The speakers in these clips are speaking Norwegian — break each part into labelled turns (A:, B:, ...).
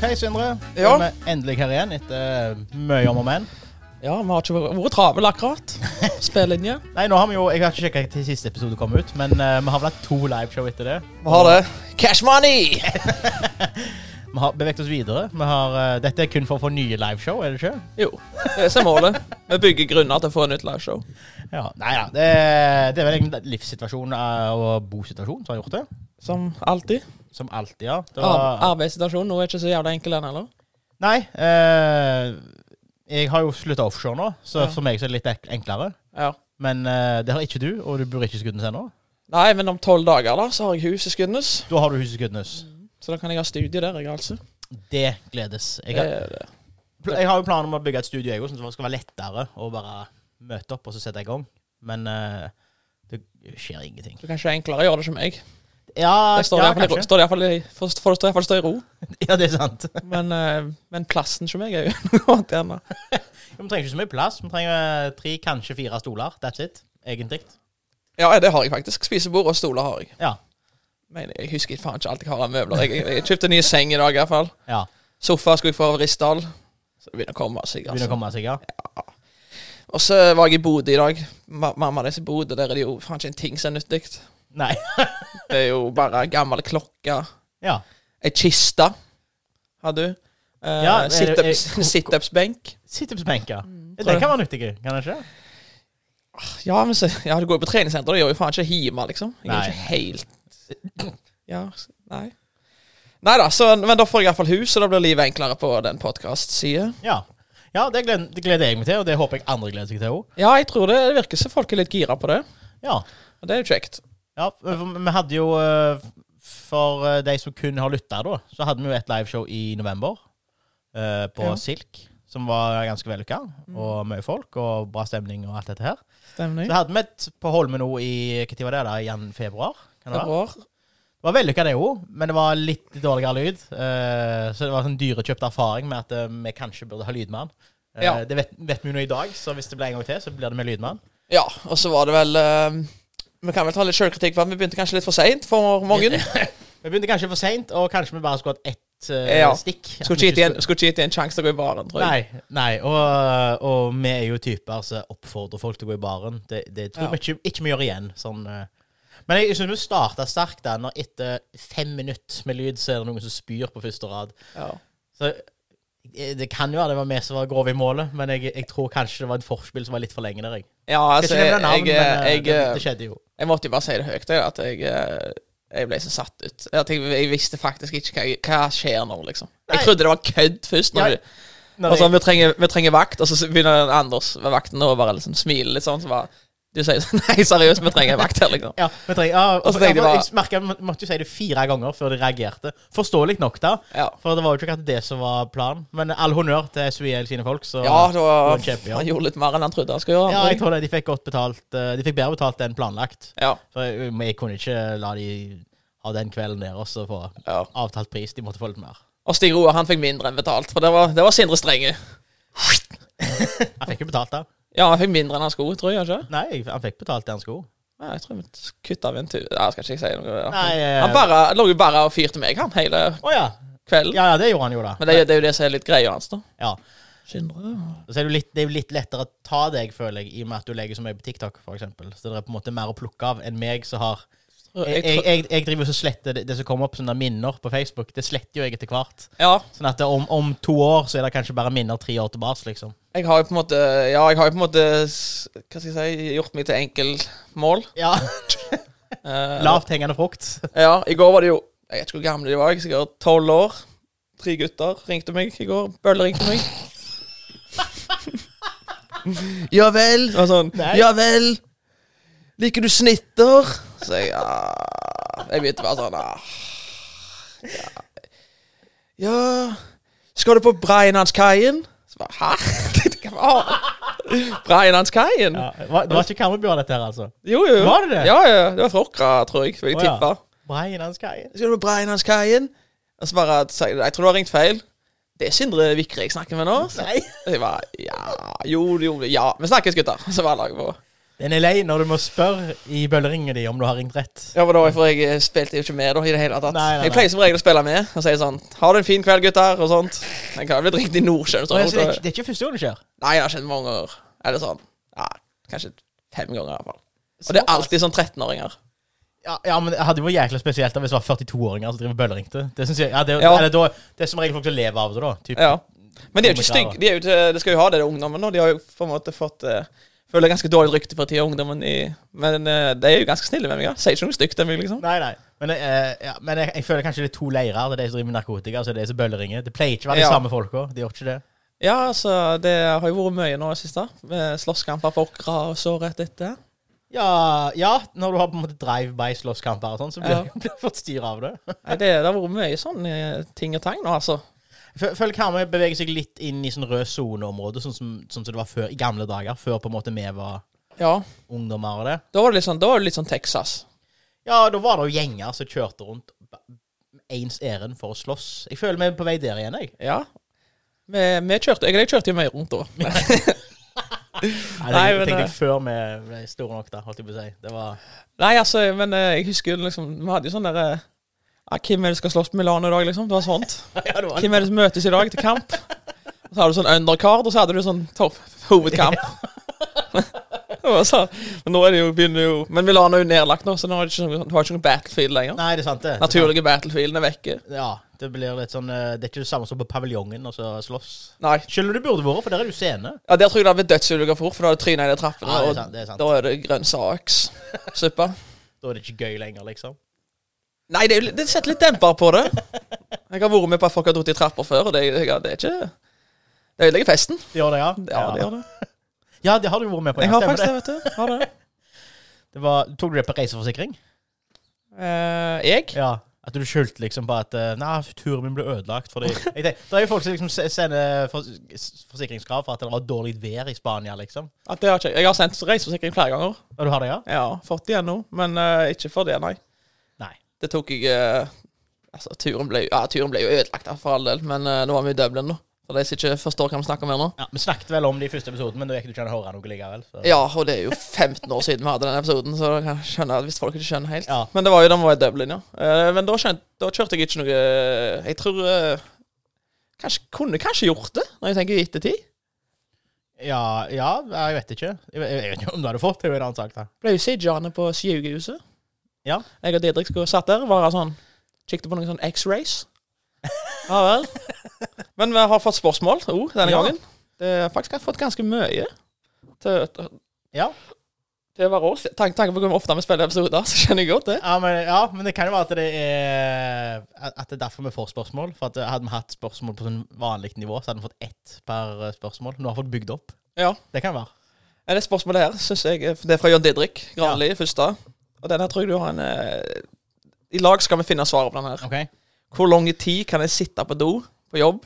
A: Hei, Sindre.
B: Ja.
A: Vi er endelig her igjen etter eh, mye om og men.
B: Ja, vi har ikke vært- vært travel akkurat. Spillelinje.
A: Nei, nå har vi jo Jeg har ikke sjekka til siste episode kom ut, men eh, vi har vel hatt to liveshow etter det.
B: Vi har det. Cash money!
A: Vi har beveget oss videre. Vi har, eh, dette er kun for å få nye liveshow, er det ikke?
B: Jo, det er som målet. Vi bygger grunner til å få et nytt liveshow.
A: Ja, Nei ja. Det, er- det er vel egentlig livssituasjon eh, og bosituasjon som har gjort det.
B: Som alltid.
A: Som alltid, ja. Det
B: Ar
A: var,
B: Arbeidssituasjonen nå er ikke så jævla enkel den heller.
A: nei. eh, jeg har jo slutta offshore nå, så
B: Ja.
A: for meg så er det litt ek- enklere.
B: Ja.
A: Men eh, det har ikke du, og du bor ikke i Skudenes ennå.
B: Nei, men om tolv dager da, så har jeg hus i Skudenes.
A: Da har du huset i Skudenes.
B: Så da kan jeg ha studie der, jeg, altså. Eh,
A: Det gledes. Jeg
B: Det
A: har,
B: er det.
A: Pl- Jeg har jo planer om å bygge et studio jeg også, sånn at det skal være lettere å bare møte opp og så sette i gang. Men eh, det skjer ingenting.
B: Du kan ikke enklere gjøre det som meg.
A: Ja,
B: Det står
A: Ah, ja,
B: i hvert fall i-
A: kanskje.
B: står i hvert fall i- for- for- står i hvert fall stå i ro.
A: Ja, det er sant.
B: Men, eh, men plassen som meg er jo noe annet igjen. da.
A: Vi trenger ikke så mye plass. Vi trenger eh, tre, kanskje fire stoler. That's it, egentlig.
B: Ja, det har jeg faktisk. Spisebord og stoler har jeg.
A: Ja.
B: Men jeg husker faen ikke alt jeg har av møbler. Jeg, jeg, jeg kjøpte en ny seng i dag i hvert fall.
A: ja.
B: Sofa skulle jeg få av Ristdal. Så det begynner å komme seg,
A: Det begynner å
B: altså.
A: komme seg, ja.
B: Og så var jeg i Bodø i dag. Ma mamma deres i Bodø, der er det jo faen ikke en ting som er nyttig.
A: Nei.
B: Det er jo bare gammel klokke.
A: Ja.
B: Ei kiste har du. Eh,
A: Ja, er det-
B: sit-ups-
A: er-
B: Situpsbenk.
A: Situpsbenker. Ja,
B: Tror
A: Den
B: jeg.
A: kan være nyttig, kan den ikke?
B: ja, men så Ja, du går jo på treningssenter, det gjør jo faen ikke hjemme, liksom. Jeg
A: Nei.
B: er ikke helt Ja, s- nei. Nei da, så, men da får jeg iallfall hus, og da blir livet enklere på den podkast-sida.
A: Ja. Ja, det gleder, det gleder jeg meg til, og det håper jeg andre gleder seg til òg.
B: Ja, jeg tror det, det virker som folk er litt gira på det.
A: Ja.
B: Og det er jo kjekt.
A: ja. for Vi hadde jo eh, For eh, de som kun har lytta, da, så hadde vi jo et liveshow i november eh, på
B: Ja. Mm.
A: Silk. Som var ganske vellykka, og mye folk og bra stemning og alt dette her.
B: Stemning.
A: Så hadde vi et på Holmen nå i hva tid var det da? i jan- februar? Kan det, være?
B: Februar.
A: det var vellykka, det òg, men det var litt dårligere lyd. eh, så det var sånn dyrekjøpt erfaring med at eh, vi kanskje burde ha lydmann. Eh,
B: Ja.
A: Det vet, vet vi jo nå i dag, så hvis det blir en gang til, så blir det med lydmann.
B: Ja, og så var det vel eh, Vi kan vel ta litt sjølkritikk for at vi begynte kanskje litt for seint for mange.
A: Vi begynte kanskje for seint, og kanskje vi bare skulle hatt ett eh,
B: Ja.
A: stikk.
B: Skulle ikke gitt en- skulle ikke gitt en sjanse til å gå i baren, tror jeg.
A: Nei, nei og, og vi er jo typer som oppfordrer folk til å gå i baren. Det, det tror
B: Ja.
A: vi ikke, ikke vi gjør igjen. Sånn, eh. men jeg syns vi starta sterkt da, når etter fem minutter med lyd, så er det noen som spyr på første rad.
B: Ja.
A: Så eh, det kan jo være det var vi som var grove i målet, men jeg, jeg tror kanskje det var et forspill som var litt for lenge der. Jeg.
B: ja,
A: Jeg
B: altså
A: skal ikke
B: jeg,
A: nevne navn, men
B: jeg,
A: eh,
B: jeg,
A: det,
B: jeg,
A: det skjedde jo.
B: måtte jo bare si det høyt, jeg, at jeg, eh, jeg ble så satt ut. At jeg, jeg visste faktisk ikke hva, hva skjer nå, liksom. Jeg
A: Nei.
B: trodde det var kødd først.
A: Ja,
B: Når vi, og så, vi, trenger, vi trenger vakt, og så begynner Anders ved vakten å bare liksom smile litt sånn. Så bare Du sier sånn Nei, seriøst, vi trenger vakt her, liksom.
A: Ja, vi trenger, ja, og,
B: Og så tenkte jeg
A: ja,
B: bare-
A: jeg merket, jeg måtte jo si det fire ganger før de reagerte. Forståelig nok, da.
B: Ja.
A: For det var jo ikke akkurat det som var planen. Men all honnør til Suiel sine folk. Så
B: Ja, det var,
A: Det var kjempe, ja.
B: han gjorde litt mer enn han trodde han skulle gjøre.
A: Ja, jeg tror det, de fikk godt betalt. eh, De fikk bedre betalt enn planlagt.
B: ja,
A: For jeg, men jeg kunne ikke la de ha den kvelden der også få
B: ja.
A: avtalt pris. De måtte få litt mer.
B: Og Stig Roar han fikk mindre enn betalt, for det var, det var Sindre Strenge.
A: Han fikk jo betalt, da.
B: Ja, han fikk mindre enn han skulle, tror jeg ikke.
A: Nei, jeg- han fikk betalt det han skulle.
B: Nei, jeg tror vi kutta av en tur. Ja, skal ikke jeg si noe. Ja.
A: Nei, eh,
B: Han bare, lå jo bare og fyrte meg, han, hele
A: Å ja.
B: kvelden.
A: ja. Ja, det gjorde han jo, da.
B: Men det, er jo- det er jo det som er litt greia hans, da.
A: Ja.
B: Sindre
A: Så er det, jo litt, det er jo litt lettere å ta deg, føler jeg, i og med at du legger så mye på TikTok, f.eks. Så det er på en måte mer å plukke av enn meg som har Jeg, jeg, jeg, jeg driver og sletter det, det som kommer opp sånne minner på Facebook. Det sletter jo jeg etter hvert.
B: Ja,
A: Sånn at det, om, om to år så er det kanskje bare minner tre år tilbake, liksom.
B: jeg har jo på en måte Ja, jeg har jo på en måte s- Hva skal jeg si Gjort meg til enkeltmål.
A: Ja.
B: Eh,
A: Lavt hengende frukt.
B: Ja, i går var det jo Jeg vet ikke hvor gamle de var, jeg er sikkert tolv år. Tre gutter ringte meg i går. Bølle ringte meg. ja vel? Det var sånn.
A: Nei.
B: Ja vel? Liker du snitter? Så jeg ja Jeg begynte bare sånn ah, ja. ja Skal du på Breinandskaien? Så bare Hæ? Hva? Breinandskaien?
A: Ja. Hva- Det var ikke Karmøybjørn, dette her, altså.
B: Jo, jo.
A: Var det det?
B: Ja, ja. Det var fra Åkra, tror jeg. Vil jeg
A: Å, ja.
B: tippe.
A: Breinandskaien.
B: Skal du på Breinandskaien? Og så bare sier de, Jeg tror du har ringt feil. Det er Sindre Vikre jeg snakker med nå. Så
A: Nei.
B: jeg bare Ja. Jo, jo, ja. Vi snakkes, gutter. Så var laget på.
A: Den er lei når du må spørre i bølleringen din om du har ringt rett.
B: Ja, men da, for jeg spilte jo ikke med da i det hele tatt.
A: Nei, nei,
B: Jeg pleier som regel å spille med og si sånn Ha det en fin kveld, gutter, og sånt. Jeg kan ha blitt ringt i Nordsjøen.
A: Og
B: Så,
A: jeg- så det, er,
B: så,
A: ikke- det er ikke første gang det skjer.
B: nei, det har skjedd mange ganger. Eller sånn. Ja, kanskje fem ganger i hvert fall. Og det er alltid sånn 13-åringer.
A: Ja, ja, men det hadde jo vært jækla spesielt da hvis det var 42-åringer som driver bølleringte. Det synes jeg, ja, det, er-
B: Ja.
A: eller, da, det er som regel folk som lever av det, da. Typ.
B: Ja. Men de er jo ikke stygge. De, er jo ikke, de skal jo ha det, de ungdommen. Og de har jo på en måte fått eh, Føler ganske dårlig rykte for tida, ungdommen. I, men eh, de er jo ganske snille med meg. Ja. Sier ikke noe stygt til meg, liksom.
A: Nei, nei. Men, eh, ja, men jeg, jeg føler kanskje det er to leirer. Det er de som driver med narkotika, og så er det de som bølleringer. Det pleier ikke å være de
B: Ja.
A: samme folka. De gjør ikke det.
B: Ja, altså, det har jo vært mye nå i det siste. med Slåsskamper for åkra og så rett etter.
A: Ja, ja, når du har på en måte drive-by-slåsskamper og sånn, så blir
B: Ja.
A: blir du fått styr av det.
B: Nei, det, det har vært mye sånn eh, ting og tang nå, altså.
A: Fø- Føler Karmøy beveger seg litt inn i sånn rød zone-område, sånn som, sånn som det var før i gamle dager. Før på en måte vi var
B: Ja.
A: ungdommer og det.
B: Da var det litt sånn, da var det litt sånn Texas.
A: Ja, da var det jo gjenger som kjørte rundt ens ærend for å slåss. Jeg føler vi er på vei der igjen, jeg.
B: Ja. Vi, vi kjørte Jeg, jeg kjørte jo mye rundt da. Men,
A: Nei,
B: Nei,
A: det
B: men,
A: tenkte
B: eh,
A: jeg før vi ble store nok, da, holdt jeg på å si. Det var
B: nei, altså, men eh, jeg husker jo liksom Vi hadde jo sånn derre ja, Hvem er det som skal slåss på Milano i dag, liksom? Det var sånt.
A: Ja, det var
B: Hvem er det som møtes i dag til kamp? Og så hadde du sånn undercard, og så hadde du sånn topp hovedkamp. Det var så- Men nå er det jo, begynner jo Men Milano er jo nedlagt nå, så nå har du ikke, noe- du har ikke noen battlefield lenger.
A: Nei, det er sant, det. det. er sant.
B: Naturlige battlefielden er vekke.
A: Ja, det blir litt sånn eh, Det er ikke det samme som på paviljongen og så slåss.
B: Nei.
A: Selv om det burde vært, for der er du scene.
B: Ja, Der tror jeg det hadde blitt dødsulykker for, for da hadde du tryna i de trappene,
A: Ja, det er
B: og
A: sant, det er sant.
B: da er det grønn sakssuppe.
A: Da er det ikke gøy lenger, liksom.
B: Nei, det, er jo litt- det setter litt demper på det. Jeg har vært med på at folk har dratt i trapper før, og det, det, det er ikke Det ødelegger festen.
A: Det gjør det, ja?
B: Ja, det gjør det.
A: Ja, det har du vært med på.
B: Jeg
A: ja,
B: har
A: stemmer
B: faktisk det, vet du. Har det.
A: det. det var, tok du det på reiseforsikring?
B: Eh, jeg?
A: Ja. At du skyldte liksom på at eh, Nei, turen min ble ødelagt fordi jeg tenker, Det er jo folk som liksom se- sender for, s- forsikringskrav for at det var dårlig vær i Spania, liksom.
B: At det har ikke, jeg har sendt reiseforsikring flere ganger.
A: Og du har det, ja?
B: Ja, fått det igjen nå, men eh, ikke for det, nei.
A: Nei.
B: Det tok jeg eh, Altså, turen ble, jo- ja, turen ble jo ødelagt, da, for all del, men eh, nå var vi i Dublin, nå. For de som ikke forstår hva vi snakker om her nå.
A: Ja, Vi snakket vel om det i første episoden, men da gikk du ikke an å høre noe likevel. Så.
B: Ja, og det er jo 15 år siden vi hadde den episoden, så jeg kan skjønne at hvis folk ikke skjønner helt.
A: Ja.
B: Men det var jo da vi var i Dublin, ja. Eh, Men da, skjønt, da kjørte jeg ikke noe Jeg tror eh, Kanskje kunne kanskje gjort det, når jeg tenker i ettertid.
A: Ja, ja, jeg vet ikke. Jeg vet- jeg vet ikke om du hadde fått det, det er jo en annen sak. da.
B: Ble jo sittende på sykehuset.
A: Ja.
B: Jeg og Didrik skulle satt der og bare sånn Kikket på noen sånn X-rays. Ja vel. Men vi har fått spørsmål oh, denne
A: Ja.
B: gangen. Det er faktisk jeg har fått ganske mye. Til,
A: Ja.
B: til å være oss. Tank, tanken på hvor ofte vi spiller episoder, så kjenner jeg godt det.
A: Ja men, ja, men det kan jo være at det er At det er derfor vi får spørsmål. For at eh, Hadde vi hatt spørsmål på sånn vanlig nivå, så hadde vi fått ett per eh, spørsmål. Nå har vi fått bygd opp.
B: Ja.
A: Det kan være.
B: Men Det spørsmålet her synes jeg er- Det er fra John Didrik Granli, første. Og den her tror jeg du har en eh, I lag skal vi finne svaret på den her.
A: Ok
B: Hvor lang tid kan jeg sitte på do på jobb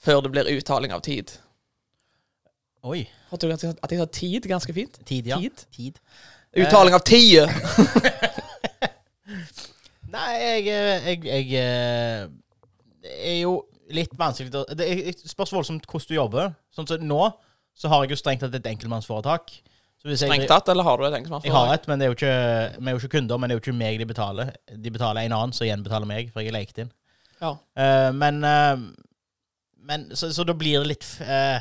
B: før det blir uttaling av tid?
A: Oi.
B: Har du at jeg- at jeg sa tid ganske fint?
A: Tid, ja.
B: Tid?
A: Tid.
B: Eh, Uttaling av tie!
A: Nei, jeg eh, Jeg, jeg eh, Det er jo litt vanskelig å Det er- det spørs voldsomt hvordan du jobber. Sånn som nå, så har jeg jo strengt tatt et enkeltmannsforetak. Så hvis jeg-
B: Strengt tatt, eller har du et engelskmann?
A: Jeg har et, men det er jo ikke, vi er jo ikke kunder, men det er jo ikke meg de betaler. De betaler en annen, så gjenbetaler meg, for jeg er lekt inn.
B: Ja.
A: Eh, men eh, men så, så da blir det litt eh,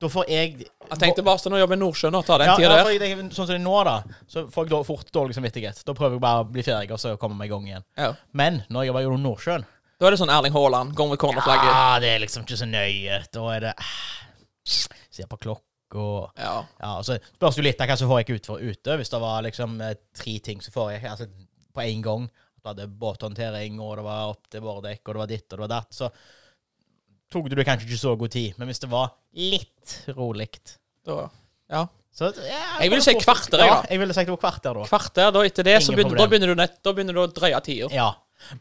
A: Da får jeg
B: Jeg tenkte bare sånn å jobbe i Nordsjøen og ta den
A: ja,
B: tida
A: ja,
B: der.
A: for jeg, tenker, Sånn som det er nå, da, så får jeg da fort dårlig samvittighet. Da prøver jeg bare å bli ferdig, og så kommer jeg meg i gang igjen.
B: Ja.
A: Men når jeg jobber i Nordsjøen
B: Da er det sånn Erling Haaland, går med cornerflagget.
A: Ja, det er liksom ikke så nøye. Da er det ah, Ser på klokka og
B: Ja.
A: Ja, og så spørs det jo litt av hva som får jeg ut for ute. Hvis det var liksom eh, tre ting som får jeg altså, på én gang. Du hadde båthåndtering, og det var opp til vårdekk, og det var ditt, og det var datt. Så tok du det kanskje ikke så god tid. Men hvis det var litt rolig
B: Da, ja.
A: så, ja,
B: Jeg ville si kvarter, jeg,
A: Ja,
B: da.
A: jeg ville sagt det var kvarter, da.
B: Kvarter, da etter det, så
A: Ingen
B: begynner, da
A: problem.
B: begynner du nett, da begynner du å drøye tida.
A: Ja.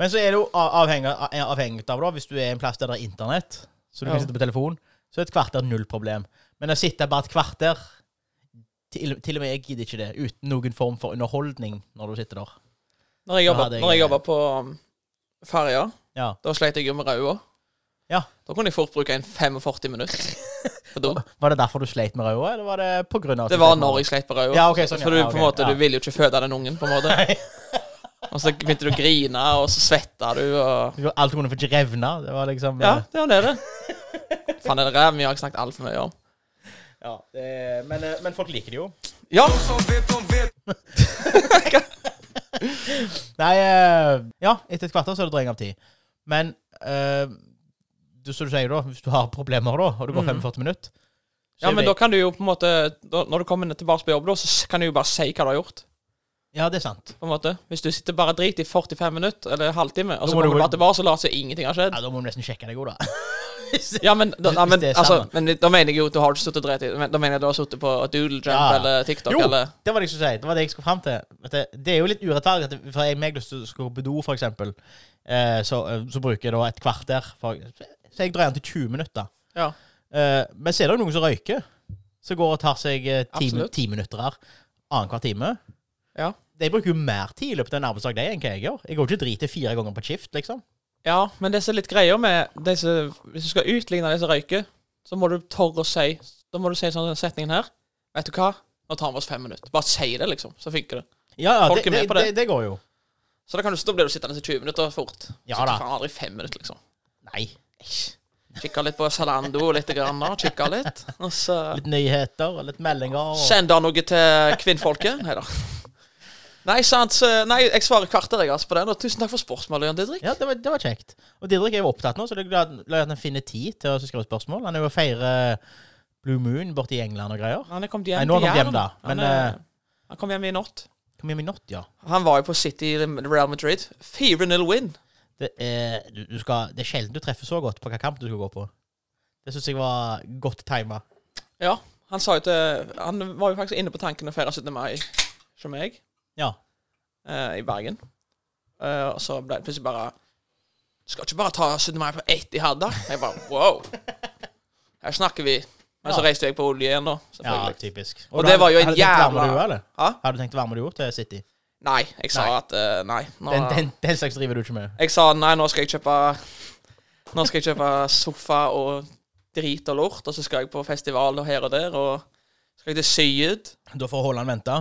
A: Men så er det jo a- avhengig, a- avhengig av, da, hvis du er en plass der det er internett, så du
B: Ja.
A: kan sitte på telefon, så er et kvarter null problem. Men å sitte bare et kvarter til, til og med jeg gidder ikke det, uten noen form for underholdning når du sitter der.
B: Når jeg
A: Da
B: jobba
A: hadde jeg-
B: når jeg jobba på um, ferja,
A: Ja.
B: da sleit jeg jo med rauda.
A: Ja.
B: Da kunne jeg fort bruke en 45 minutter. på do.
A: Var det derfor du sleit med røya, eller var det på grunn av at
B: Det
A: du sleit
B: var
A: med
B: når
A: røya?
B: jeg sleit på røya.
A: Ja, ok, sånn,
B: for
A: ja,
B: du,
A: ja,
B: på
A: ok,
B: en måte,
A: ja.
B: du ville jo ikke føde den ungen, på en måte.
A: Nei.
B: Og så begynte du å grine, og så svetta du, og
A: Du- Alt kunne få ikke revne. Det var liksom
B: Ja, det er det. det. Faen, den ræven vi har jeg snakket altfor mye om.
A: ja, det- men, eh, men folk liker det jo.
B: Ja!
A: Nei eh, Ja, etter et kvarter så er det drøying av tid. Men eh, du, som du sier, da, hvis du har problemer da, og det går 45 minutter så
B: Mm. Ja,
A: er
B: men
A: det-
B: da kan du jo på en måte da, Når du kommer tilbake på jobb, da, så kan du jo bare si hva du har gjort.
A: Ja, det er sant.
B: På en måte Hvis du sitter bare drit i 45 minutter eller en halvtime, og
A: Da
B: så
A: må
B: kommer
A: du
B: du
A: gå-
B: bare tilbake og later som ingenting har skjedd
A: Ja, Da må du nesten sjekke deg òg, da.
B: Ja, men da, ja,
A: Hvis
B: men,
A: det er
B: altså,
A: sammen.
B: men da mener jeg jo at du har ikke sittet og drept i men Da mener jeg at du har sittet på Doodle Jump
A: Ja.
B: eller TikTok
A: Jo,
B: eller
A: det var det jeg skulle si. Det var det jeg skulle fram til. At det, det er jo litt urettferdig. At det- for jeg meg lyst til å skulle på do, for eksempel, eh, så, eh, så bruker jeg da et kvarter. For, så jeg drar den til 20 minutter.
B: Ja.
A: Eh, men så er det jo noen som røyker. Som går og tar seg eh, ti,
B: Absolutt.
A: ti minutter her annenhver time.
B: Ja.
A: De bruker jo mer tid i løpet av en arbeidsdag de enn hva jeg gjør. Jeg går ikke drit til fire ganger på et skift, liksom.
B: Ja, men det som er litt greia med de som- Hvis du skal utligne de som røyker, så må du tørre å si Da må du si sånn den setningen her Vet du hva? Nå tar vi oss fem minutter. Bare si det, liksom. Så funker det.
A: Ja, ja,
B: Folk
A: det,
B: er med på det.
A: Det, det går jo.
B: Så da kan du stå blir du sittende i 20 minutter fort.
A: Ja
B: så
A: da.
B: faen aldri fem minutter, liksom.
A: Nei.
B: Kikka litt på Zalando litt, grann, da. Kikka litt. Og så
A: Litt nyheter og litt meldinger. Og...
B: Send da noe til kvinnfolket. Nei da. Nei, sant. så- Nei, jeg svarer kvarter, jeg, altså, på den. Og tusen takk for spørsmålet, Jan Didrik.
A: Ja, det var, det var kjekt. Og Didrik er jo opptatt nå, så det er glad glad at han finner tid til å skrive spørsmål. Han er jo og feirer Blue Moon borte i England og greier.
B: Han er kommet hjem
A: Nei, nå har han kommet
B: til
A: hjem,
B: Jæren.
A: da, men,
B: han,
A: eh,
B: er, han kom hjem i natt.
A: Kom hjem i natt, ja.
B: Han var jo på City i Real Madrid. 4-0 win.
A: Det er, du, du skal, det er sjelden du treffer så godt på hvilken kamp du skal gå på. Det syns jeg var godt tima.
B: Ja, han sa jo til Han var jo faktisk inne på tanken å feire 17. mai som meg,
A: Ja.
B: eh, i Bergen. Eh, og så ble det plutselig bare Skal ikke bare ta 17. mai på ett i Hadda? Jeg bare wow. Her snakker vi. Men så
A: Ja.
B: reiste jeg på olje igjen, da.
A: ja,
B: Selvfølgelig.
A: typisk.
B: Og
A: du
B: det
A: hadde-
B: var jo en
A: hadde du tenkt å være med
B: jævla-
A: du, eller?
B: Hæ?
A: Har du tenkt å være med du til City?
B: Nei, jeg sa
A: Nei.
B: at eh, Nei. Nå,
A: Den, den, den slags driver du ikke med.
B: Jeg sa nei, nå skal jeg kjøpe Nå skal jeg kjøpe sofa og drit og lort, og så skal jeg på festival og her og der, og skal jeg til Syd.
A: Da får Haaland vente.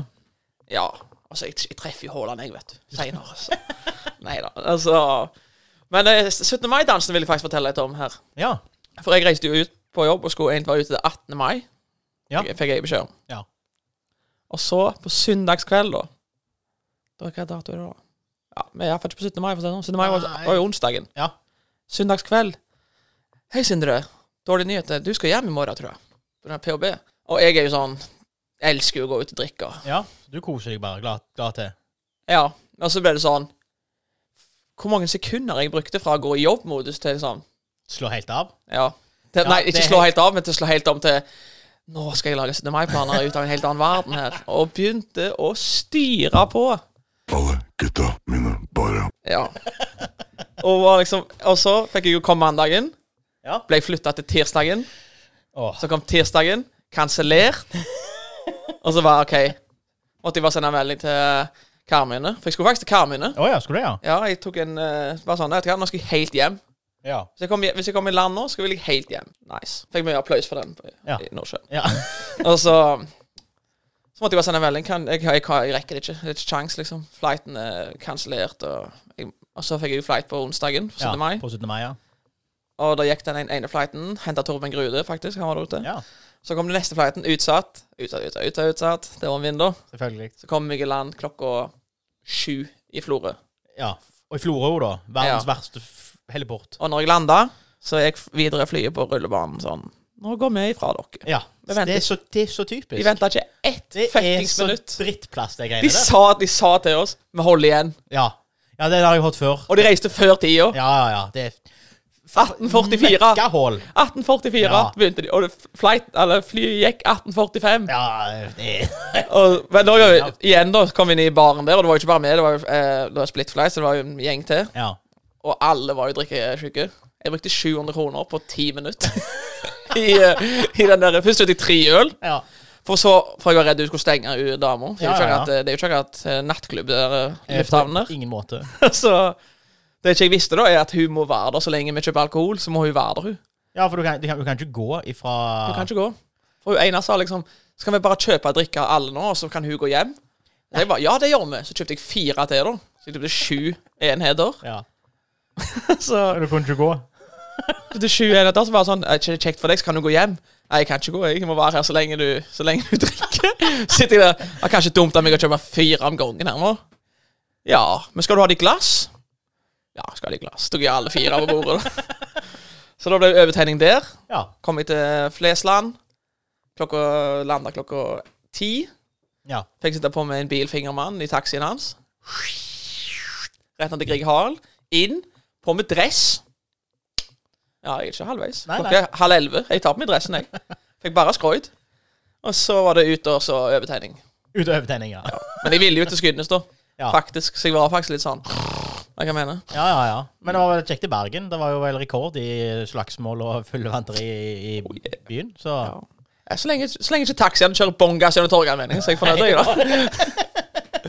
B: Ja. Altså, jeg, jeg treffer jo Haaland, jeg, vet du. Seinere, altså. Nei da. Altså Men eh, 17. mai-dansen vil jeg faktisk fortelle litt om her.
A: Ja.
B: For jeg reiste jo ut på jobb og skulle egentlig være ute til 18. mai.
A: Ja.
B: Jeg fikk jeg beskjed om.
A: Ja.
B: Og så, på søndagskveld, da Da Hva dato er det da? Ja, Vi er iallfall ikke på 17. mai. for å si det sånn. 17. mai var,
A: Nei.
B: var jo onsdagen.
A: Ja.
B: Søndagskveld. Hei, Sindre. Dårlige nyheter. Du skal hjem i morgen, tror jeg. På den PHB. Og jeg er jo sånn Jeg elsker jo å gå ut og drikke.
A: ja. Du koser deg bare. Glad, glad til.
B: Ja. Og så ble det sånn Hvor mange sekunder jeg brukte fra å gå i jobbmodus til sånn
A: Slå helt av.
B: Ja. Til,
A: Ja,
B: nei,
A: det
B: ikke
A: er
B: slå helt av, men til å slå helt om til Nå skal jeg lage 17. mai-planer ut av en helt annen verden her. Og begynte å styre på.
C: Alle gutta mine bare
B: Ja. Og, var liksom, og så fikk jeg jo komme mandagen.
A: Ja.
B: Ble flytta til tirsdagen.
A: Åh.
B: Så kom tirsdagen. Kansellert. Og så var OK. Måtte jeg bare sende en melding til Karmøyene. For jeg skulle faktisk til Karmøyene.
A: Å ja, skulle du, ja?
B: Ja, jeg tok en eh, Bare sånn, vet du hva, nå skal jeg helt hjem.
A: Ja.
B: Hvis jeg kommer, hvis jeg kommer i land nå, skal jeg ligge helt hjem. Nice. Fikk mye applaus for den på,
A: Ja.
B: i Nordsjøen.
A: ja.
B: Og så Så måtte jeg bare sende en melding. Kan, jeg, jeg, jeg rekker det ikke. Det er ikke kjangs, liksom. Flighten er kansellert. Og, jeg- og så fikk jeg jo flight på onsdagen, 17. mai.
A: På 17. mai, ja.
B: Og da gikk den ene- ene flighten. Henta Torben Grude, faktisk. Han var der ute.
A: ja.
B: Så kom den neste flighten. Utsatt. Utsatt, utsatt, utsatt. utsatt. Det var en vindu.
A: Selvfølgelig.
B: Så kom jeg i land klokka sju i Florø.
A: Ja. Og i Florø, da. Verdens
B: Ja.
A: verste f- heliport.
B: Og når jeg landa, så gikk videre flyet på rullebanen sånn Nå går vi ifra dere.
A: Ja.
B: Vi venter.
A: Det er, så, det er så typisk.
B: Vi venta ikke ett
A: det er
B: fuckings
A: så
B: minutt.
A: drittplass, det
B: De
A: greiene der.
B: sa, de sa til oss Vi holder igjen.
A: Ja. ja, det har jeg hørt før.
B: Og de reiste før tida.
A: Ja, ja, ja. Det er
B: 1844.
A: Mekkahull.
B: 1844
A: Ja.
B: begynte de, og det f- flight, eller flyet gikk 1845.
A: Ja, det er
B: Og, men da,
A: Ja.
B: igjen da, så kom vi inn i baren der, og det var jo ikke bare meg, det var jo eh, det var split flight, så det var jo en gjeng til.
A: Ja.
B: Og alle var jo drikkesjuke. Jeg brukte 700 kroner på ti minutter. I, eh, I den der Først kjøpte jeg tre øl,
A: ja.
B: for så For jeg var redd du skulle stenge ut dama. Så Det er jo
A: Ja, ja,
B: ikke
A: ja.
B: akkurat, eh, det er jo ikke akkurat eh, nattklubb der, eh, lufthavner.
A: På ingen måte.
B: eh, så Det ikke jeg visste, da, er at hun må være der så lenge vi kjøper alkohol. Så må hun være der, hun.
A: Ja, for du kan, du kan, du kan ikke gå ifra
B: Hun kan ikke gå. For hun ene sa liksom Skal vi bare kjøpe og drikke av alle nå, og så kan hun gå hjem? Og jeg bare Ja, det gjør vi. Så kjøpte jeg fire til, da. Så jeg kjøpte sju enheter.
A: Ja.
B: Så
A: Du kunne ikke gå.
B: kjøpte sju enheter, så var det sånn Er ikke det kjekt for deg, så kan du gå hjem. Nei, jeg kan ikke gå. Jeg må være her så lenge du, så lenge du drikker. Sitter jeg der. Det er kanskje dumt av meg å kjøpe fire om gangen her nå. Ja, men skal du ha det i glass? Ja, skal ha det i glass. Tok jeg alle fire på bordet. da. Så da ble det overtegning der.
A: Ja.
B: Kom jeg til Flesland. Klokka landa klokka ti.
A: ja.
B: Fikk sitte på med en bilfingermann i taxien hans. Rett ned til Grieg Hall. Inn. På med dress. Ja, jeg er ikke halvveis.
A: Nei, nei.
B: Klokka er halv elleve. Jeg tar på meg dressen, jeg. Fikk bare skroid. Og så var det ut og så overtegning.
A: Ut av overtenning, ja.
B: Men jeg ville jo til Skudenes, da.
A: Ja.
B: Faktisk. Så jeg var faktisk litt sånn Hva jeg mener
A: Ja, ja, ja. Men det var vel kjekt i Bergen. Det var jo vel rekord i slagsmål og fullvanteri i,
B: Oh,
A: i byen, så
B: Ja, Så lenge, så lenge ikke taxiene kjører bongas gjennom torget, mener jeg. Så er jeg fornøyd, jeg, da.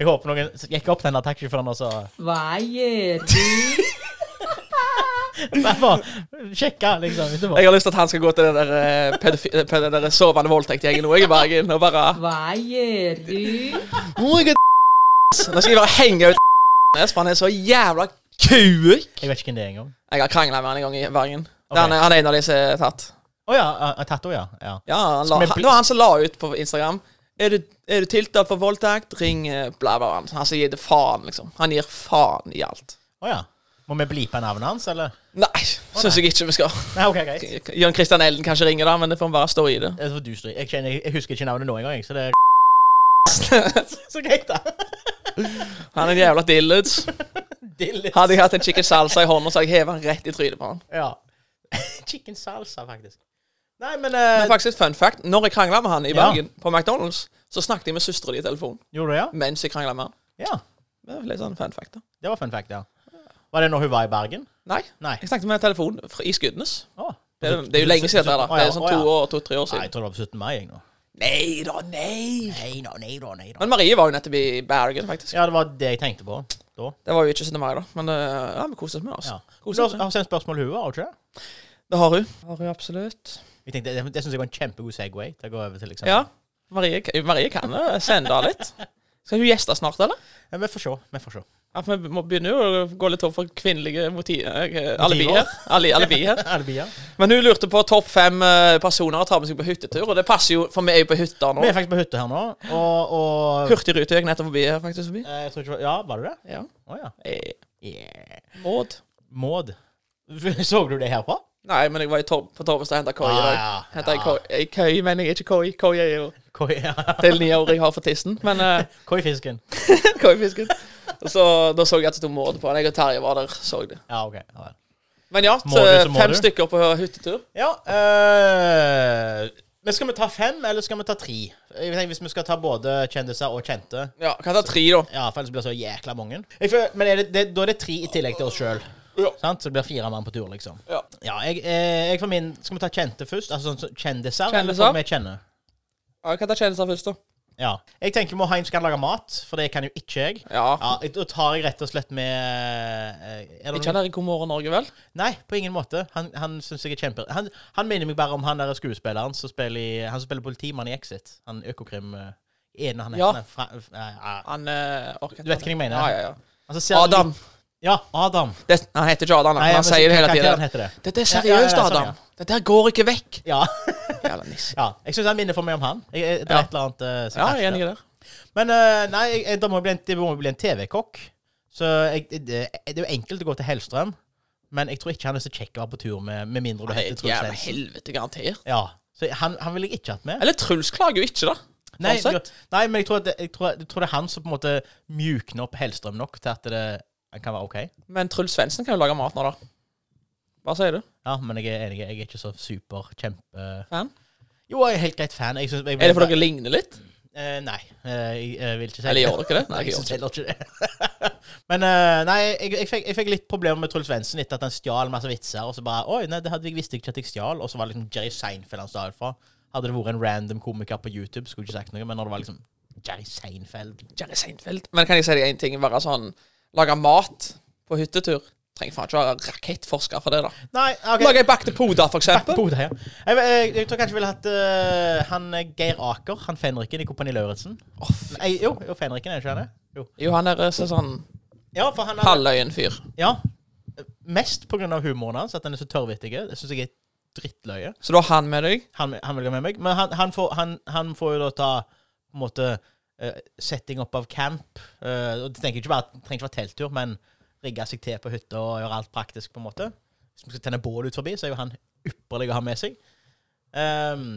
A: Jeg håper noen gikk opp denne taxisjåføren og så
D: Hva gjør du?
A: Nei, bare sjekka, liksom. Etterpå.
B: Jeg har lyst til at han skal gå til den der, eh, pedofi- eh, den der sovende voldtektgjengen nå jeg er i Bergen og bare
D: Hva gjør du?
B: «Å, jeg er Nå skal jeg bare henge ut for han er så jævla kuk.
A: Jeg vet ikke hvem det er engang.
B: Jeg har krangla med han en gang i Bergen. Det
A: Ok.
B: er Han, er- han er en av de som er tatt.
A: Å ja. eh, Tato, ja. ja.
B: Ja, han la,
A: Som er
B: han,
A: bli-
B: det var han som la ut på Instagram er du, er du tiltalt for voldtekt, ring eh, bla, bla, bla. Han som gir det faen, liksom. Han gir faen i alt.
A: Å ja. Må vi bleepe navnet hans, eller?
B: Nei, syns jeg ikke vi skal.
A: Nei, OK, greit.
B: Jørn Kristian Elden kanskje ringer, da, men det får han bare stå i det.
A: Det får du stryke. Jeg, kjenner- jeg husker ikke navnet nå engang, jeg, så det er Så greit, da.
B: Han er en jævla dillards.
A: Dilly.
B: Hadde jeg hatt en chicken salsa i hånda, så hadde jeg hevet han rett i trynet på han.
A: Ja. Chicken salsa, faktisk. Nei, men,
B: Det
A: eh,
B: er faktisk et fun fact. Når jeg krangla med han i
A: Ja.
B: Bergen på McDonald's, så snakket jeg med søstera di i telefonen
A: Gjorde du det, ja?
B: mens jeg krangla med han.
A: Ja.
B: Det er litt sånn fun fact, da.
A: Det var fun fact, ja. Var det når hun var i Bergen?
B: Nei.
A: Nei.
B: Jeg snakket med telefonen fra- i Skudenes.
A: Å.
B: Det er, det er jo lenge siden, det, da. Det er sånn to år, to-tre år
A: Nei, jeg
B: siden.
A: tror det var på 17. mai. Jeg, nå.
B: Nei da, nei.
A: Nei da, nei da, nei da.
B: Men Marie var jo nettopp i Bergen, faktisk.
A: Ja, det var det jeg tenkte på da.
B: Det var jo ikke 17. mai, da. Men eh, ja, vi koste oss med oss.
A: Ja. Du
B: Koste
A: har,
B: oss.
A: har sendt spørsmål hun, har du ikke det?
B: Det har hun. Har hun absolutt.
A: Jeg tenkte, det det syns jeg var en kjempegod Segway til å gå over til liksom
B: Ja. Marie, Marie kan eh, sende henne litt. Skal hun gjeste snart, eller?
A: Ja, Vi får se. Vi får se.
B: Ja, for vi må begynner jo å gå litt tom for kvinnelige motiver. Alibi
A: Motiver.
B: her. Ali, alibi her.
A: Er det bier?
B: Men hun lurte på topp fem eh, personer å ta med seg på hyttetur, og det passer jo, for vi er jo på hytta nå.
A: Vi er faktisk på hytta her nå, og, og
B: Hurtigruta gikk nettopp forbi her, faktisk. forbi.
A: Eh, jeg tror ikke, Ja, var det det?
B: Ja.
A: Å ja.
B: Eh,
A: Yeah.
B: Maud.
A: Maud. Så du det herfra?
B: Nei, men jeg var i Tor på Torvestad og henta køye i dag.
A: Ah, ja. Ja.
B: Hentet ei køy, ei køy, mener jeg, ikke køy. Køy er jo
A: Koi, ja.
B: det nye året jeg har for tissen, men eh,
A: Koifisken.
B: køyfisken. Og Så da så jeg at det sto Maud på den. Jeg og Terje var der, så det.
A: Ja, OK. Ja, vel.
B: Men ja, eh,
A: Må du, så må
B: fem
A: du.
B: stykker på hyttetur.
A: ja eh, men skal vi ta fem, eller skal vi ta tre? Jeg tenker, hvis vi skal ta både kjendiser og kjente
B: Ja, kan jeg ta tre, da.
A: Ja, for ellers blir det så jækla mange. Jeg føler, men er det, det, da er det tre i tillegg til oss sjøl.
B: Ja.
A: Sant? Så det blir fire mann på tur, liksom.
B: Ja.
A: Ja, jeg, eh, jeg for min Skal vi ta kjente først? Altså sånn så- kjendiser?
B: Kjendiser?
A: Eller folk vi kjenner?
B: Ja, jeg kan ta kjendiser først, da.
A: Ja. Jeg tenker vi må ha en som kan lage mat, for det kan jo ikke jeg.
B: Ja.
A: Ja, jeg- Da tar jeg rett og slett med eh, er det noen-
B: Ikke han der i God morgen Norge, vel?
A: Nei, på ingen måte. Han, han syns jeg er kjempe... Han, han minner meg bare om han der skuespilleren som spiller, i, han som spiller politimann i Exit. Han Økokrim eh, ene han
B: Ja.
A: heter. Fra, eh, eh,
B: Han eh, orker
A: Du vet hvem jeg mener.
B: Ja, ja, ja.
A: altså, ser du-
B: Adam.
A: Ja, Adam.
B: Det, han heter ikke Adam, da,
A: Nei,
B: men han
A: men så-
B: sier det hele
A: hva- hva
B: tiden.
A: heter det?
B: Dette er
A: Ja, ja, ja,
B: seriøst,
A: sånn,
B: Adam.
A: ja.
B: Dette her går ikke vekk.
A: Ja.
B: Jævla niss.
A: ja. Jeg syns han minner for meg om han. Jeg, jeg, det er
B: Ja.
A: et eller annet eh, som
B: Ja,
A: catcher
B: jeg er enig
A: der.
B: i det.
A: Men eh, nei, jeg, jeg- da må jeg bli en, det må jeg bli en TV-kokk. Så jeg, det, det er jo enkelt å gå til Hellstrøm, men jeg tror ikke han er så kjekk å være på tur med, med mindre du
B: Det er
A: heter
B: et
A: Truls
B: jævla
A: Svendsen.
B: helvete, garantert.
A: Ja. Så han, han ville jeg ikke hatt med.
B: Eller Truls klager jo ikke, da.
A: Nei,
B: sånn
A: du-
B: sett.
A: nei men jeg tror, at det, jeg, tror, jeg tror det er han som på en måte mjukner opp Hellstrøm nok til at det han kan være OK.
B: Men Truls Svendsen kan jo lage mat nå, da. Hva sier du?
A: Ja, men jeg er enig. Jeg er ikke så super kjempe...
B: Fan?
A: Jo, jeg er helt greit fan. Jeg synes, jeg,
B: Er det fordi dere ligner litt?
A: Eh, nei, eh, jeg, jeg vil ikke si
B: Eller gjør dere det?
A: Nei,
B: Nei,
A: jeg
B: jeg gjør
A: synes heller ikke det. Men eh, nei, jeg, jeg, fikk, jeg fikk litt problemer med Truls Svendsen etter at han stjal masse vitser. Og så bare Oi, nei, det hadde jeg visste jeg ikke at jeg stjal. Og så var det liksom Jerry Seinfeld han stjal fra. Hadde det vært en random komiker på YouTube, skulle jeg ikke sagt noe. Men når det var liksom Jerry Seinfeld
B: Jerry Seinfeld. Men kan jeg si deg én ting? Bare sånn Lage mat på hyttetur. Trenger faen ikke være rakettforsker for det, da.
A: Nei, OK.
B: Lager jeg bakte poder, for eksempel.
A: Bodø, ja. jeg, jeg, jeg tror kanskje jeg ville hatt eh, han eh, Geir Aker, han fenriken i Kompani Lauritzen.
B: Åh, fy-
A: Nei, jo, jo, fenriken er det ikke han det? Jo.
B: Jo, han er så sånn
A: Ja, for han er
B: halvøyen-fyr.
A: Ja. Mest pga. humoren hans, at han er så tørrvittig. Det syns jeg er drittløye.
B: Så du har han med deg?
A: Han, han vil gå med meg. Men han, han, får, han, han får jo da ta på en måte eh, setting opp av camp. Eh, og det tenker jeg ikke bare, det trenger ikke være telttur, men rigge seg til på hytta og gjøre alt praktisk, på en måte. Hvis vi skal tenne bål ut forbi, så er jo han ypperlig å ha med seg. Um,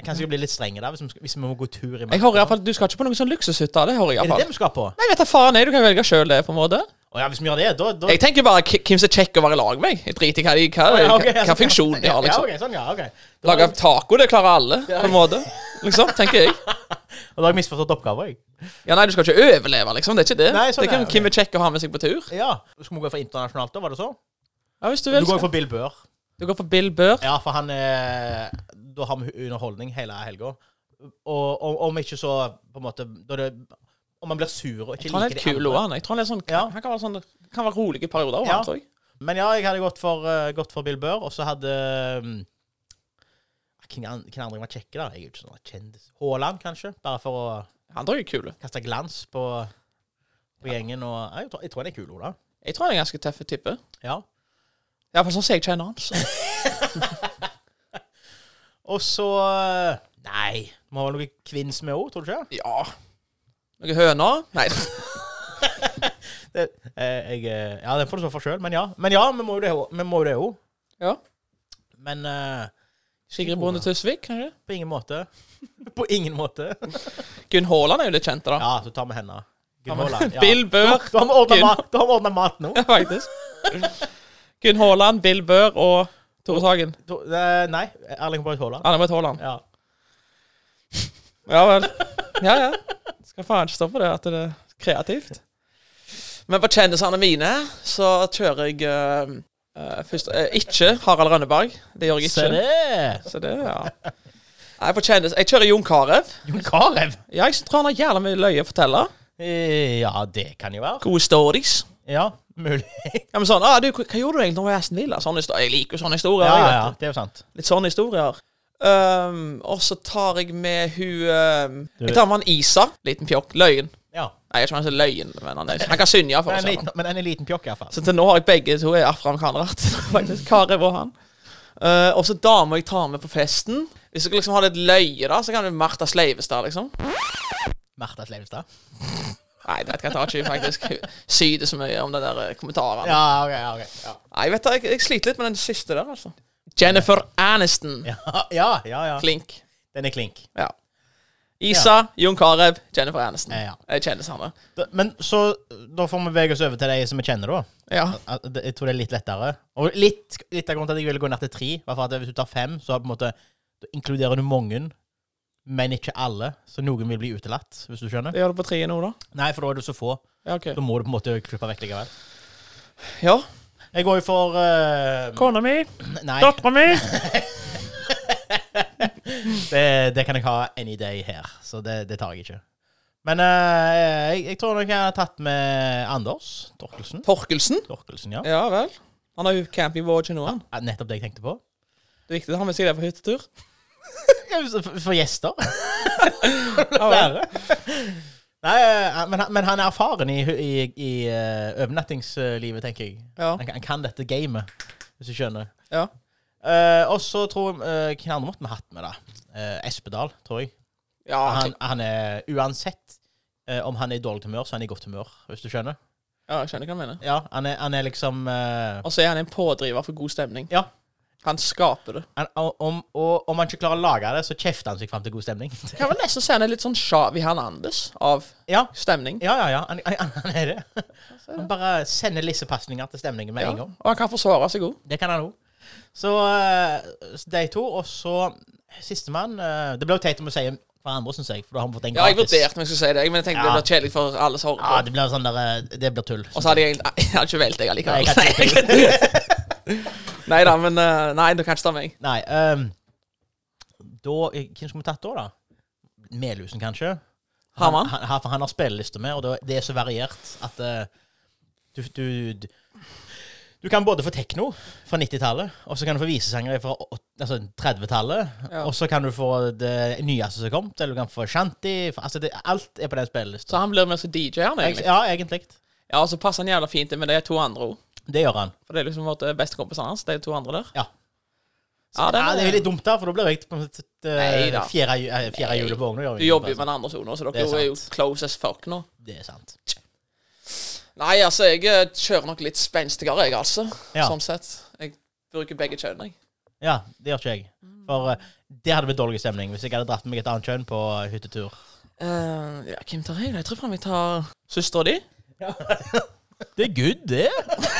A: jeg kan sikkert bli litt strenge der, hvis vi, skal, hvis vi må gå tur i
B: Jeg hører i hvert fall, Du skal ikke på noen sånn luksushytte? Det hører jeg i
A: Er det
B: hvert
A: det
B: fall.
A: vi skal på?
B: Nei, vet du faen, jeg, du kan velge sjøl det, på en måte.
A: Å ja, hvis vi gjør det, da, da
B: Jeg tenker bare k- hvem som er kjekk å være i lag med. Jeg driter i hva, de, hva,
A: Å, ja, ok,
B: hva, hva
A: altså,
B: funksjon de har, liksom.
A: Ja, ok, sånn, ja, ok. Da,
B: Lage taco, det klarer alle, på en måte. Liksom, tenker jeg.
A: da har jeg misforstått oppgaven, jeg.
B: Ja, nei, du skal ikke overleve, liksom. Det er ikke det.
A: Nei, sånn
B: det kan
A: er det.
B: hvem er kjekk å ha med seg på tur.
A: Ja. Skal vi gå for internasjonalt, da? Var det så?
B: Ja, hvis du
A: Du
B: vil.
A: går jo
B: skal-
A: for Bill Burr.
B: Du går for Bill Burr.
A: Ja, for han er Da har vi underholdning hele helga. Og og- om ikke så på en måte da det, Om man blir sur og ikke
B: Jeg tror han er
A: liker
B: litt
A: de
B: kul
A: andre.
B: også, han. Jeg tror han er sånn,
A: Ja.
B: han kan være sånn, kan være rolig i perioder også,
A: Ja.
B: han, tror jeg.
A: Men ja, jeg hadde gått for, eh, gått for Bill Burr, og så hadde um, Hvem an- hvem andre jeg var kjekke, da? Jeg er jo ikke sånn kjendis. Haaland, kanskje? Bare for å
B: Han tror jeg er kul.
A: kaste glans på, på gjengen. Og, jeg, tror, jeg tror han er kul, Ola.
B: Jeg tror han er en ganske tøff type.
A: Ja.
B: Iallfall sånn som jeg kjenner han. Så.
A: Og så eh, Nei, det må ha noe kvinns med òg, tror du ikke?
B: Ja. Noen høner? Nei.
A: Det, eh, jeg, eh, ja, den får du stå for sjøl, men ja. Men ja, vi må jo det òg- vi må jo det òg.
B: Ja.
A: Men eh,
B: Sigrid Bonde Tusvik, kanskje?
A: på ingen måte. På ingen måte.
B: Gunn Haaland er jo litt kjent, da.
A: Ja, så tar vi henne. Gunn
B: men-
A: Haaland. Ja.
B: Bill Burr.
A: Da har vi ordnet
B: Gunn-
A: mat- da har vi ordna mat nå.
B: Ja, faktisk. Gunn Haaland, Bill Burr og Tore Sagen.
A: To- eh, Nei, Erling Braut Haaland.
B: Anne-Britt Haaland.
A: Ja.
B: Ja vel. Ja, ja. Skal faen ikke stå på det, at det er kreativt. Men på kjendisene mine så kjører jeg eh, eh, først eh, ikke Harald Rønneberg. Det gjør jeg
A: Se
B: ikke.
A: det!
B: Så det, ja. Nei, på kjendis Jeg kjører Jon Carew.
A: Jon Carew.
B: Ja, jeg tror han har jævla mye løye å fortelle.
A: Eh, Ja, det kan jo være.
B: Gode stories.
A: Ja, mulig.
B: Ja, men sånn, ah, du, hva gjorde du egentlig med Aston Villa? Sånne historier. Jeg liker jo sånne historier.
A: Ja, ja,
B: jeg,
A: ja,
B: vet
A: det er jo sant.
B: du. Litt sånne historier. Ehm, og så tar jeg med hun ehm, Jeg tar med han Isa. Liten pjokk. Løgn.
A: Ja.
B: Nei, jeg er ikke han som er løgn, men han, er, han kan synge, for
A: Men en
B: eksempel.
A: liten, men en liten pjokk, iallfall.
B: sånn. Så til nå har jeg begge to er afroamerikanere. faktisk. Karev og han. Eh, og så damer jeg tar med på festen. Hvis jeg liksom har litt løye, da, så kan det være Martha Sleivestad, liksom.
A: Martha Sleivestad.
B: Nei, det vet jeg ikke, jeg tar ikke faktisk Hun syder så mye om den der eh, kommentaren.
A: Ja, OK. ja, ok. Ja.
B: Nei, jeg vet da, jeg, jeg sliter litt med den siste der, altså. Jennifer Aniston.
A: Ja, Mm. ja, ja, ja.
B: Klink.
A: Den er klink.
B: Ja. Isa, Jon Carew, Jennifer Aniston.
A: Eh, Ja.
B: Jeg kjenner samme.
A: Da- Men så Da får vi bevege oss over til de som vi kjenner, da.
B: Ja.
A: At det- Jeg tror det er litt lettere. Og litt, litt av grunnen til at jeg ville gå ned til tre, var for at hvis du tar fem, så på en måte Da inkluderer du mange, men ikke alle. Så noen vil bli utelatt, hvis du skjønner.
B: Gjør det på tre nå, da.
A: Nei, for da er du så få.
B: Ja, ok.
A: Da må du på en måte klippe vekk likevel.
B: Ja.
A: Jeg går jo for eh,
B: Kona mi,
A: Nei,
B: dattera mi.
A: det, det kan jeg ha any day her, så det, det tar jeg ikke. Men eh, jeg, jeg tror nok jeg har tatt med Anders Torkelsen.
B: Torkelsen.
A: Torkelsen, ja.
B: Ja vel. Han har jo camping våge nå, han.
A: Ja, Nettopp det jeg tenkte på.
B: Det er viktig å ha med seg det på hyttetur.
A: Ja, for- For gjester?
B: Ja, vel.
A: Flere? Nei, eh, men, han- men han er erfaren i, i, i eh, overnattingslivet, tenker jeg.
B: Ja.
A: Han, kan- han kan dette gamet, hvis du skjønner.
B: ja.
A: Eh, og så tror jeg eh, Hvem andre måtte vi hatt med, da? Eh, Espedal, tror jeg.
B: ja
A: Han,
B: jeg-
A: han er uansett eh, om han er i dårlig humør, så er han i godt humør, hvis du skjønner.
B: ja, jeg skjønner hva du mener.
A: Ja, Han er, han er liksom eh,
B: Og så er han en pådriver for god stemning.
A: Ja.
B: Han skaper det.
A: Han, om, og om han ikke klarer å lage det, så kjefter han seg fram til god stemning.
B: Kan vel nesten si han er litt sånn Shavi Hernandez av
A: ja,
B: stemning.
A: Ja, ja, ja. Han, han, han er det. Han bare sender lissepasninger til stemningen med en gang.
B: Og han kan forsvare seg òg.
A: Det kan han òg. Så eh, de to, og så sistemann eh, Det ble jo teit om å si hverandre, syns jeg, for da har vi fått en
B: Ja, jeg
A: gratis.
B: vurderte om jeg skulle si det, men jeg tenkte
A: Ja.
B: det ble kjedelig for alle som hører på.
A: Ja, det blir sånn der eh, Det blir tull.
B: Og så hadde jeg egentlig Jeg hadde ikke valgt deg
A: Nei, jeg hadde
B: allikevel. Nei da, men eh, Nei, du kan ikke ta meg.
A: Nei. ehm, da eh, Hvem skulle vi tatt da, da? Melhusen, kanskje?
B: Har man?
A: Han, han, for han har spilleliste med, og det, det er så variert at eh, Du, du, du, du kan både få tekno fra 90-tallet, og så kan du få visesangere fra åt- altså 30-tallet.
B: Ja.
A: Og så kan du få det nyeste som kom, eller du kan få shanty. for- Altså det, alt er på den spillelista.
B: Så han blir med som DJ, han egentlig.
A: Ja, egentlig.
B: Ja, og så passer han jævla fint inn med de to andre òg.
A: Det gjør han.
B: For det er liksom vårt eh, bestekompisene hans, de to andre der.
A: Ja.
B: Ja, den,
A: Ja, det er jo litt dumt, da, for da blir jeg på en måte
B: Nei da.
A: eh, fjerde ju- eh, fjerde
B: Nei.
A: hjulet på vogna. gjør
B: Du
A: vi
B: jobber jo
A: ikke,
B: med den andre sonen, så
A: Det
B: dere
A: er
B: er jo
A: sant.
B: close as fuck nå.
A: Det er sant.
B: Nei, altså, jeg eh, kjører nok litt spenstigere, jeg, altså.
A: Ja.
B: Sånn sett. Jeg bruker begge kjønn, jeg.
A: Ja, det gjør ikke jeg. For eh, det hadde blitt dårlig stemning hvis jeg hadde dratt med meg et annet kjønn på hyttetur.
B: Eh, ja, hvem tar jeg? da? Jeg tror faen vi tar søstera di.
A: Det er good, det.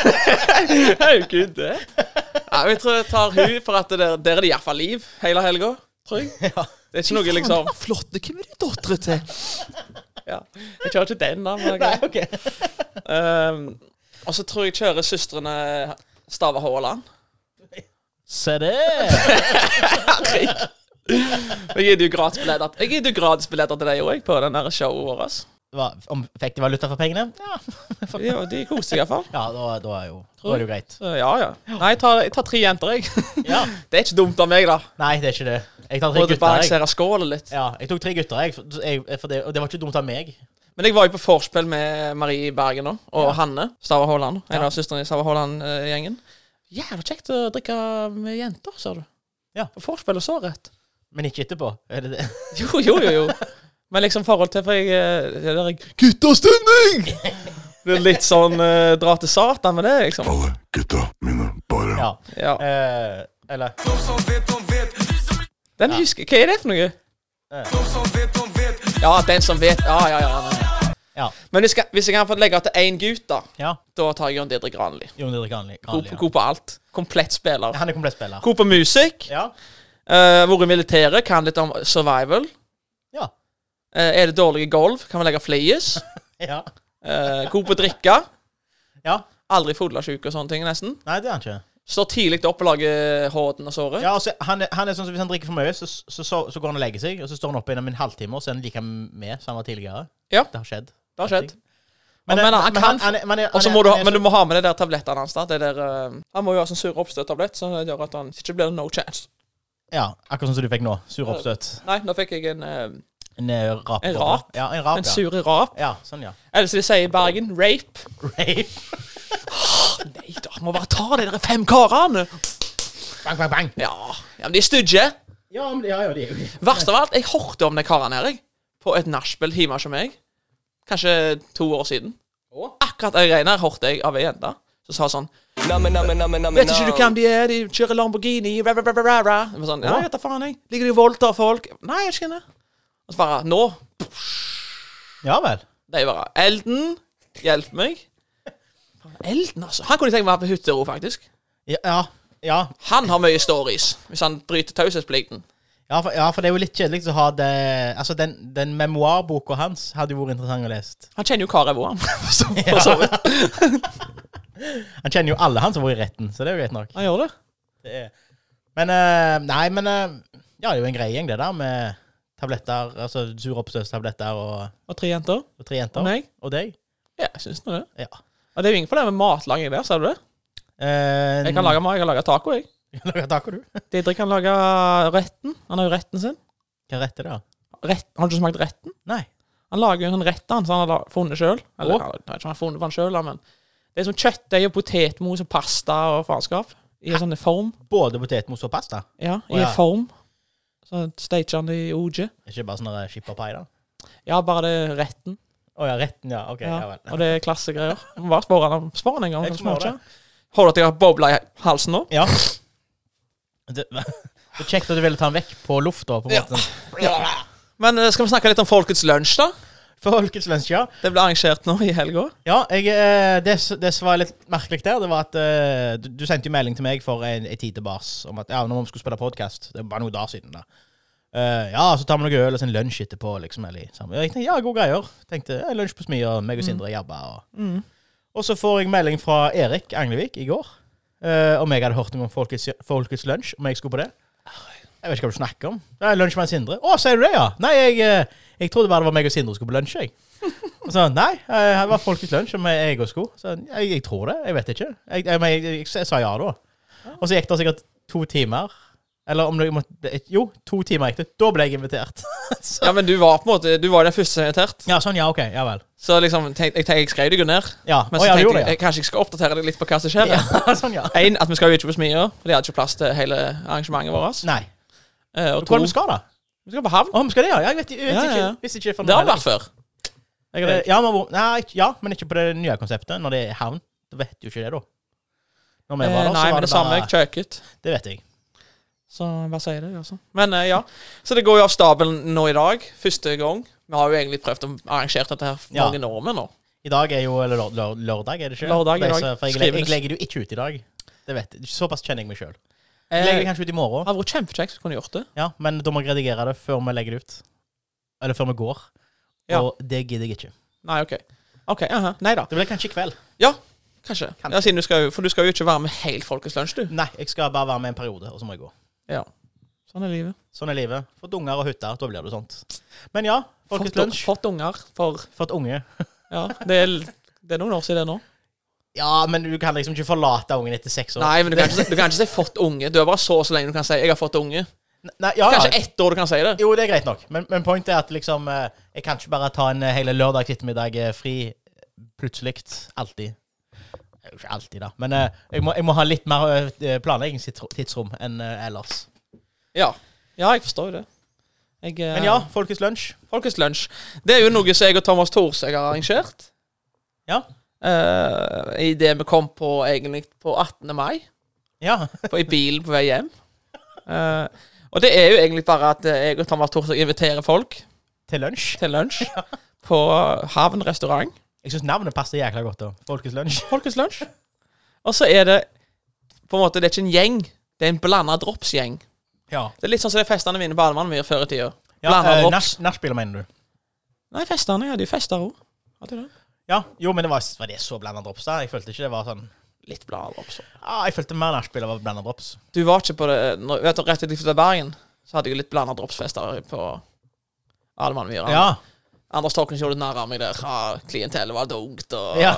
B: Herregud, det. Nei, men jeg tror jeg tar hun, for at der, der er det iallfall liv hele helga. Tror jeg.
A: Ja.
B: Det er ikke noe liksom
E: Flott. Hvem er det dattera til?
B: ja. Jeg kjører ikke den, da. Men det er
A: Nei,
B: greit.
A: ok.
B: Ehm, og så tror jeg kjører søstrene Stava Haaland.
A: Se det.
B: Jeg gidder jo gratisbilletter Jeg gidder jo gratisbilletter til deg òg, på den der showet vårt. ass.
A: Hva, om, fikk de valuta for pengene? Ja,
B: Ja, de koser seg iallfall.
A: ja da, da, er jo, da
B: Tror
A: er det jo greit.
B: Så ja, ja. Nei, jeg tar, jeg tar tre jenter, jeg.
A: Ja.
B: Det er ikke dumt av meg, da.
A: Nei, det er ikke det. Jeg tar tre
B: Både
A: gutter. Jeg.
B: balansere skålet litt.
A: Ja, jeg tok tre gutter, jeg, for, jeg, for det, og det var ikke dumt av meg.
B: Men jeg var jo på vorspiel med Marie i Bergen nå, og Hanne Stava Haaland. En
A: Ja.
B: av søstrene i Stava Haaland-gjengen. Jævla kjekt å drikke med jenter, sa du.
A: Ja.
B: På vorspiel og så rett.
A: Men ikke etterpå. Er det det?
B: Jo, jo, jo. jo. Men liksom forhold til For jeg eh, det der jeg
E: Guttastemning!
B: det er litt sånn eh, dra til Satan med det, liksom.
C: Alle gutta mine bare
A: Ja.
B: Ja.
A: Eh, eller
B: Den husker Hva er det for noe? Ja, den som vet Ja, ja, ja. nei, nei.
A: Ja.
B: Men hvis jeg, hvis jeg kan få legge til én gutt, da,
A: Ja.
B: da tar jeg Jon Didrik Granli.
A: Jon Didrik Granli.
B: God,
A: Granli, ja.
B: god på alt. Komplett spiller.
A: Han er komplett spiller.
B: God på musikk.
A: Ja.
B: Uh, vært i militæret, kan litt om survival.
A: Ja.
B: Eh, er det dårlig i golf, kan vi legge flies.
A: Ja.
B: Uh, god på å drikke.
A: ja.
B: Aldri fodlasjuk og sånne ting, nesten.
A: Nei, det er han ikke.
B: Står tidlig opp og lager håden og såret.
A: Ja, altså, han, er, han er sånn som Hvis han drikker for mye, så, så, så, så går han og legger seg. Og så står han oppe innom en halvtime, og så er han like med som han var tidligere.
B: Ja.
A: Det har skjedd.
B: Det har skjedd.
A: Men,
B: Og- men han kan-
A: er- men er-
B: Og så
A: han er-
B: må du, ha-
A: han er
B: men du
A: så-
B: må ha med de der tablettene hans. da. Det der, eh, han må jo ha sånn sur oppstøt-tablett, så det gjør at han ikke blir no chance.
A: Ja, akkurat sånn som du fikk nå. Sur oppstøt.
B: Nei, nå fikk jeg en, eh,
A: En eh, rap.
B: En rap?
A: Ja, en
B: en
A: rap, ja.
B: sur rap.
A: ja. Sånn, ja.
B: Eller som de sier i Bergen, rape.
A: Rape.
B: Nei da, må bare ta de der fem karene!
A: Bang, bang, bang.
B: Ja, ja men de er stygge.
A: Ja, men, ja, ja, det er jo
B: Verst av alt, jeg hørte om de karene her, jeg. På et nachspiel hjemme hos meg. Kanskje to år siden. Akkurat det greiene her hørte jeg av ei jente som sa sånn Vet ikke du hvem de er? De kjører Lamborghini ra, ra, ra, ra, ra. Jeg var sånn, ja, jeg vet da faen, jeg. Ligger de og voldtar folk? Nei, jeg skjønner. Og så bare Nå.
A: Ja vel.
B: De bare Elden, hjelp meg. Faen, Elden, altså. Han kunne tenkt meg å være på hyttero, faktisk.
A: Ja, ja. Ja,
B: Han har mye stories, hvis han bryter taushetsplikten.
A: ja, for, ja, for det er jo litt kjedelig å ha det Altså, den, den memoarboka hans hadde jo vært interessant å lese.
B: Han kjenner jo Karevo, han. for så- For så vidt.
A: Han kjenner jo alle han som var i retten, så det er jo greit nok.
B: Han gjør det.
A: Det er. Men eh, Nei, men eh, Ja, det er jo en grei gjeng, det der, med tabletter, altså suroppstøtstabletter og,
B: Og tre jenter.
A: og tre jenter.
B: Og meg.
A: Og deg.
B: Ja, jeg syns nå det.
A: Ja.
B: Og det er jo ingen problem med matlaging der, ser du det?
A: Eh,
B: Jeg kan lage mat, jeg kan lage taco, jeg.
A: lage taco, du.
B: Didrik kan lage retten. Han har jo retten sin.
A: Hva rett er det, da?
B: Rett, har du ikke smakt retten?
A: Nei.
B: Han lager jo en sånn rett han, som han har la- funnet sjøl.
A: Å.
B: Eller jeg vet ikke om han har funnet på den sjøl, men det er som kjøttdeig og potetmos og pasta og faenskap. I en sånn form.
A: Både potetmos og pasta?
B: Ja,
A: Å,
B: i
A: ja.
B: en form. Så stager han det i OG.
A: Ikke bare sånn der chippa pai, da?
B: Ja, bare det er retten.
A: Å ja, retten, ja. Ok, ja,
B: Ja,
A: vel.
B: og det er klassegreier. Må Bare spør han om spør han en gang.
A: Jeg
B: om han
A: spør det.
B: smaker. Har du at jeg har bobla i halsen nå?
A: Ja. Det, det er kjekt at du ville ta den vekk på lufta, på en
B: Ja.
A: måte.
B: Men eh, skal vi snakke litt om Folkets lunsj, da?
A: Folkets lunsj, ja.
B: Det ble arrangert nå i helga.
A: Ja, jeg, eh, det, s- det som var litt merkelig der, det var at eh, du, du sendte jo melding til meg for en, en tid til bars om at ja, når vi skulle spille podkast. Det var bare noen dager siden. da. Eh, ja, så tar vi noe øl og så en lunsj etterpå. liksom, eller sammen. Ja, Jeg tenkte, ja, gode greier. Tenkte, ja, Lunsj på Smi og meg og Sindre jabba. Og. og så får jeg melding fra Erik Anglevik i går eh, om jeg hadde hørt noe om Folkets, folkets lunsj, om jeg skulle på det. Jeg vet ikke hva du snakker om. Det er lunsj med Sindre. Å, sier du det, ja? Nei, jeg, eh, Jeg trodde bare det var meg og Sindre som skulle på lunsj. jeg. Og så, nei, eh, det var folkets lunsj og jeg og sko. Så, jeg, jeg tror det, jeg vet ikke. Jeg, jeg, men jeg, jeg, jeg sa ja da. Og så gikk det sikkert to timer. Eller om det måtte Jo, to timer gikk det. Da ble jeg invitert. Så,
B: Ja, men du var på en måte Du var den første som er invitert.
A: ja, sånn, ja, OK. Ja vel.
B: Så liksom, tenk, jeg, tenk, jeg skrev deg jo ned.
A: Ja,
B: Men
A: å,
B: så
A: ja, du
B: tenkte
A: gjorde
B: jeg,
A: det,
B: jeg kanskje jeg skal oppdatere deg litt på hva som skjer.
A: ja. ja. Sånn, ja.
B: En, at vi skal jo ikke på Smia, for de hadde ikke plass til hele arrangementet vårt.
A: Nei.
B: Eh,
A: Hvor
B: og
A: er
B: to,
A: det vi skal, da?
B: vi skal på havn.
A: Å, vi skal det, ja? ja jeg vet, jeg vet
B: Ja, ja, ja.
A: ikke. Hvis ikke for
B: Det har
A: noe
B: vi vært før. Eh,
A: Jeg er- Ja, men, hvor- nei, ikke- ja, men ikke på det nye konseptet, når det er havn. Du vet jo ikke det, da. Når vi
B: Eh,
A: var der,
B: nei,
A: så var
B: men
A: det
B: det samme.
A: bare
B: Jeg kjøket.
A: Det vet jeg.
B: Så jeg bare sier det, altså. Men eh, ja. Så det går jo av stabelen nå i dag. Første gang. Vi har jo egentlig prøvd å arrangere dette her for
A: Ja.
B: mange år med nå.
A: I dag er jo eller lør, lør, lørdag, er det ikke?
B: Lørdag
A: Det
B: i
A: er
B: dag.
A: så- For jeg,
B: Skriver
A: legger- jeg
B: det.
A: legger det jo ikke ut i dag. Det vet jeg. Såpass kjenner jeg meg sjøl. Jeg legger det
B: Eh,
A: kanskje ut i
B: det
A: morgen,
B: hadde vært kjempekjekt hvis vi kunne gjort det.
A: ja, men da må jeg redigere det før vi legger det ut. Eller før vi går.
B: Ja.
A: Og det gidder jeg ikke.
B: Nei, OK. OK. aha. Nei da.
A: Det blir kanskje i kveld.
B: Ja, kanskje.
A: Kan-
B: Ja, siden du skal, jo- for du skal jo ikke være med helt Folkets lunsj, du.
A: Nei, jeg skal bare være med en periode, og så må jeg gå.
B: Ja. Sånn er livet.
A: Sånn er livet. For dunger og hytter, da blir det sånt. Men ja, Folkets
B: Fått,
A: lunsj.
B: fått unger for
A: Fått unge.
B: Ja, det er, det er noen år siden nå.
A: Ja, men du kan liksom ikke forlate ungen etter seks år.
B: Nei, men du kan, ikke, si- du kan ikke si 'fått unge'. Du er bare så og så lenge du kan si 'jeg har fått unge'.
A: Nei, ja,
B: Kanskje
A: ja.
B: ett år du kan si det.
A: Jo, det er greit nok, men, men pointet er at liksom eh, Jeg kan ikke bare ta en eh, hele lørdag ettermiddag eh, fri eh, plutselig. Alltid. Det er jo Ikke alltid, da, men eh, jeg, må, jeg må ha litt mer eh, planleggingstidsrom enn eh, ellers.
B: Ja, ja jeg forstår jo det. Jeg, eh,
A: Men ja, Folkets lunsj.
B: Folkets lunsj. Det er jo noe som jeg og Thomas Thorsøg har arrangert.
A: Ja.
B: Eh, I det vi kom på egentlig på 18. mai,
A: Ja.
B: på, i bilen på vei hjem. Eh, og det er jo egentlig bare at eh, jeg og Thomas Thorsøg inviterer folk
A: Til lunsj.
B: til lunsj på Havn restaurant.
A: Jeg syns navnet passer jækla godt, da. Folkets lunsj.
B: Folkets lunsj. Og så er det på en måte, det er ikke en gjeng, det er en blanda dropsgjeng.
A: Ja.
B: Det er litt sånn som de festene mine på Alman mye før i tida.
A: ja
B: Blanda
A: eh,
B: drops.
A: nach- Nachspieler, mener du?
B: Nei, festene, ja, de fester òg. Hadde de det?
A: Ja. Jo, men det var, var det så blanda drops, da? Jeg følte ikke det var sånn
B: Litt blanda drops. også.
A: ah, Jeg følte mer nachspiel var blanda drops.
B: Du var ikke på det når, vet du, Rett etter jeg flytta til Bergen, så hadde jeg jo litt blanda dropsfester på Alman Myhre.
A: Ja.
B: Anders Torkens gjorde narr av meg der. Ah, klientellet var dumt og
A: Ja.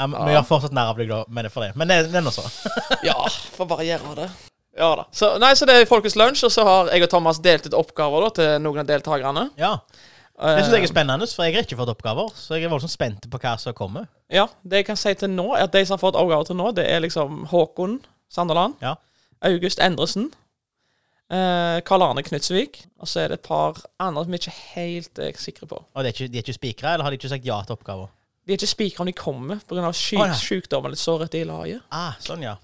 A: Ja, men Vi gjør fortsatt narr av deg, da, men det er for det. Men det, det er nå så.
B: Ja, får bare gjøre det. Ja da. Så, nei, så det er Folkets lunsj, og så har jeg og Thomas delt ut oppgaver da, til noen av deltakerne. Eh,
A: Ja. Det syns jeg er spennende, for jeg har ikke fått oppgaver. Så jeg er voldsomt spent på hva som kommer.
B: Ja, det jeg kan si til nå, er at de som har fått oppgaver til nå, det er liksom Håkon Sanderland,
A: Ja.
B: August Endresen, eh, Karl Arne Knutsvik, og så er det et par andre som vi ikke helt er sikre på.
A: Og det er ikke, de er ikke spikra, eller har de ikke sagt ja til oppgaver?
B: De er ikke sikre om de kommer pga. Syk,
A: Å, ja.
B: sykdom eller sårhet i laget.
A: Ah, sånn, ja.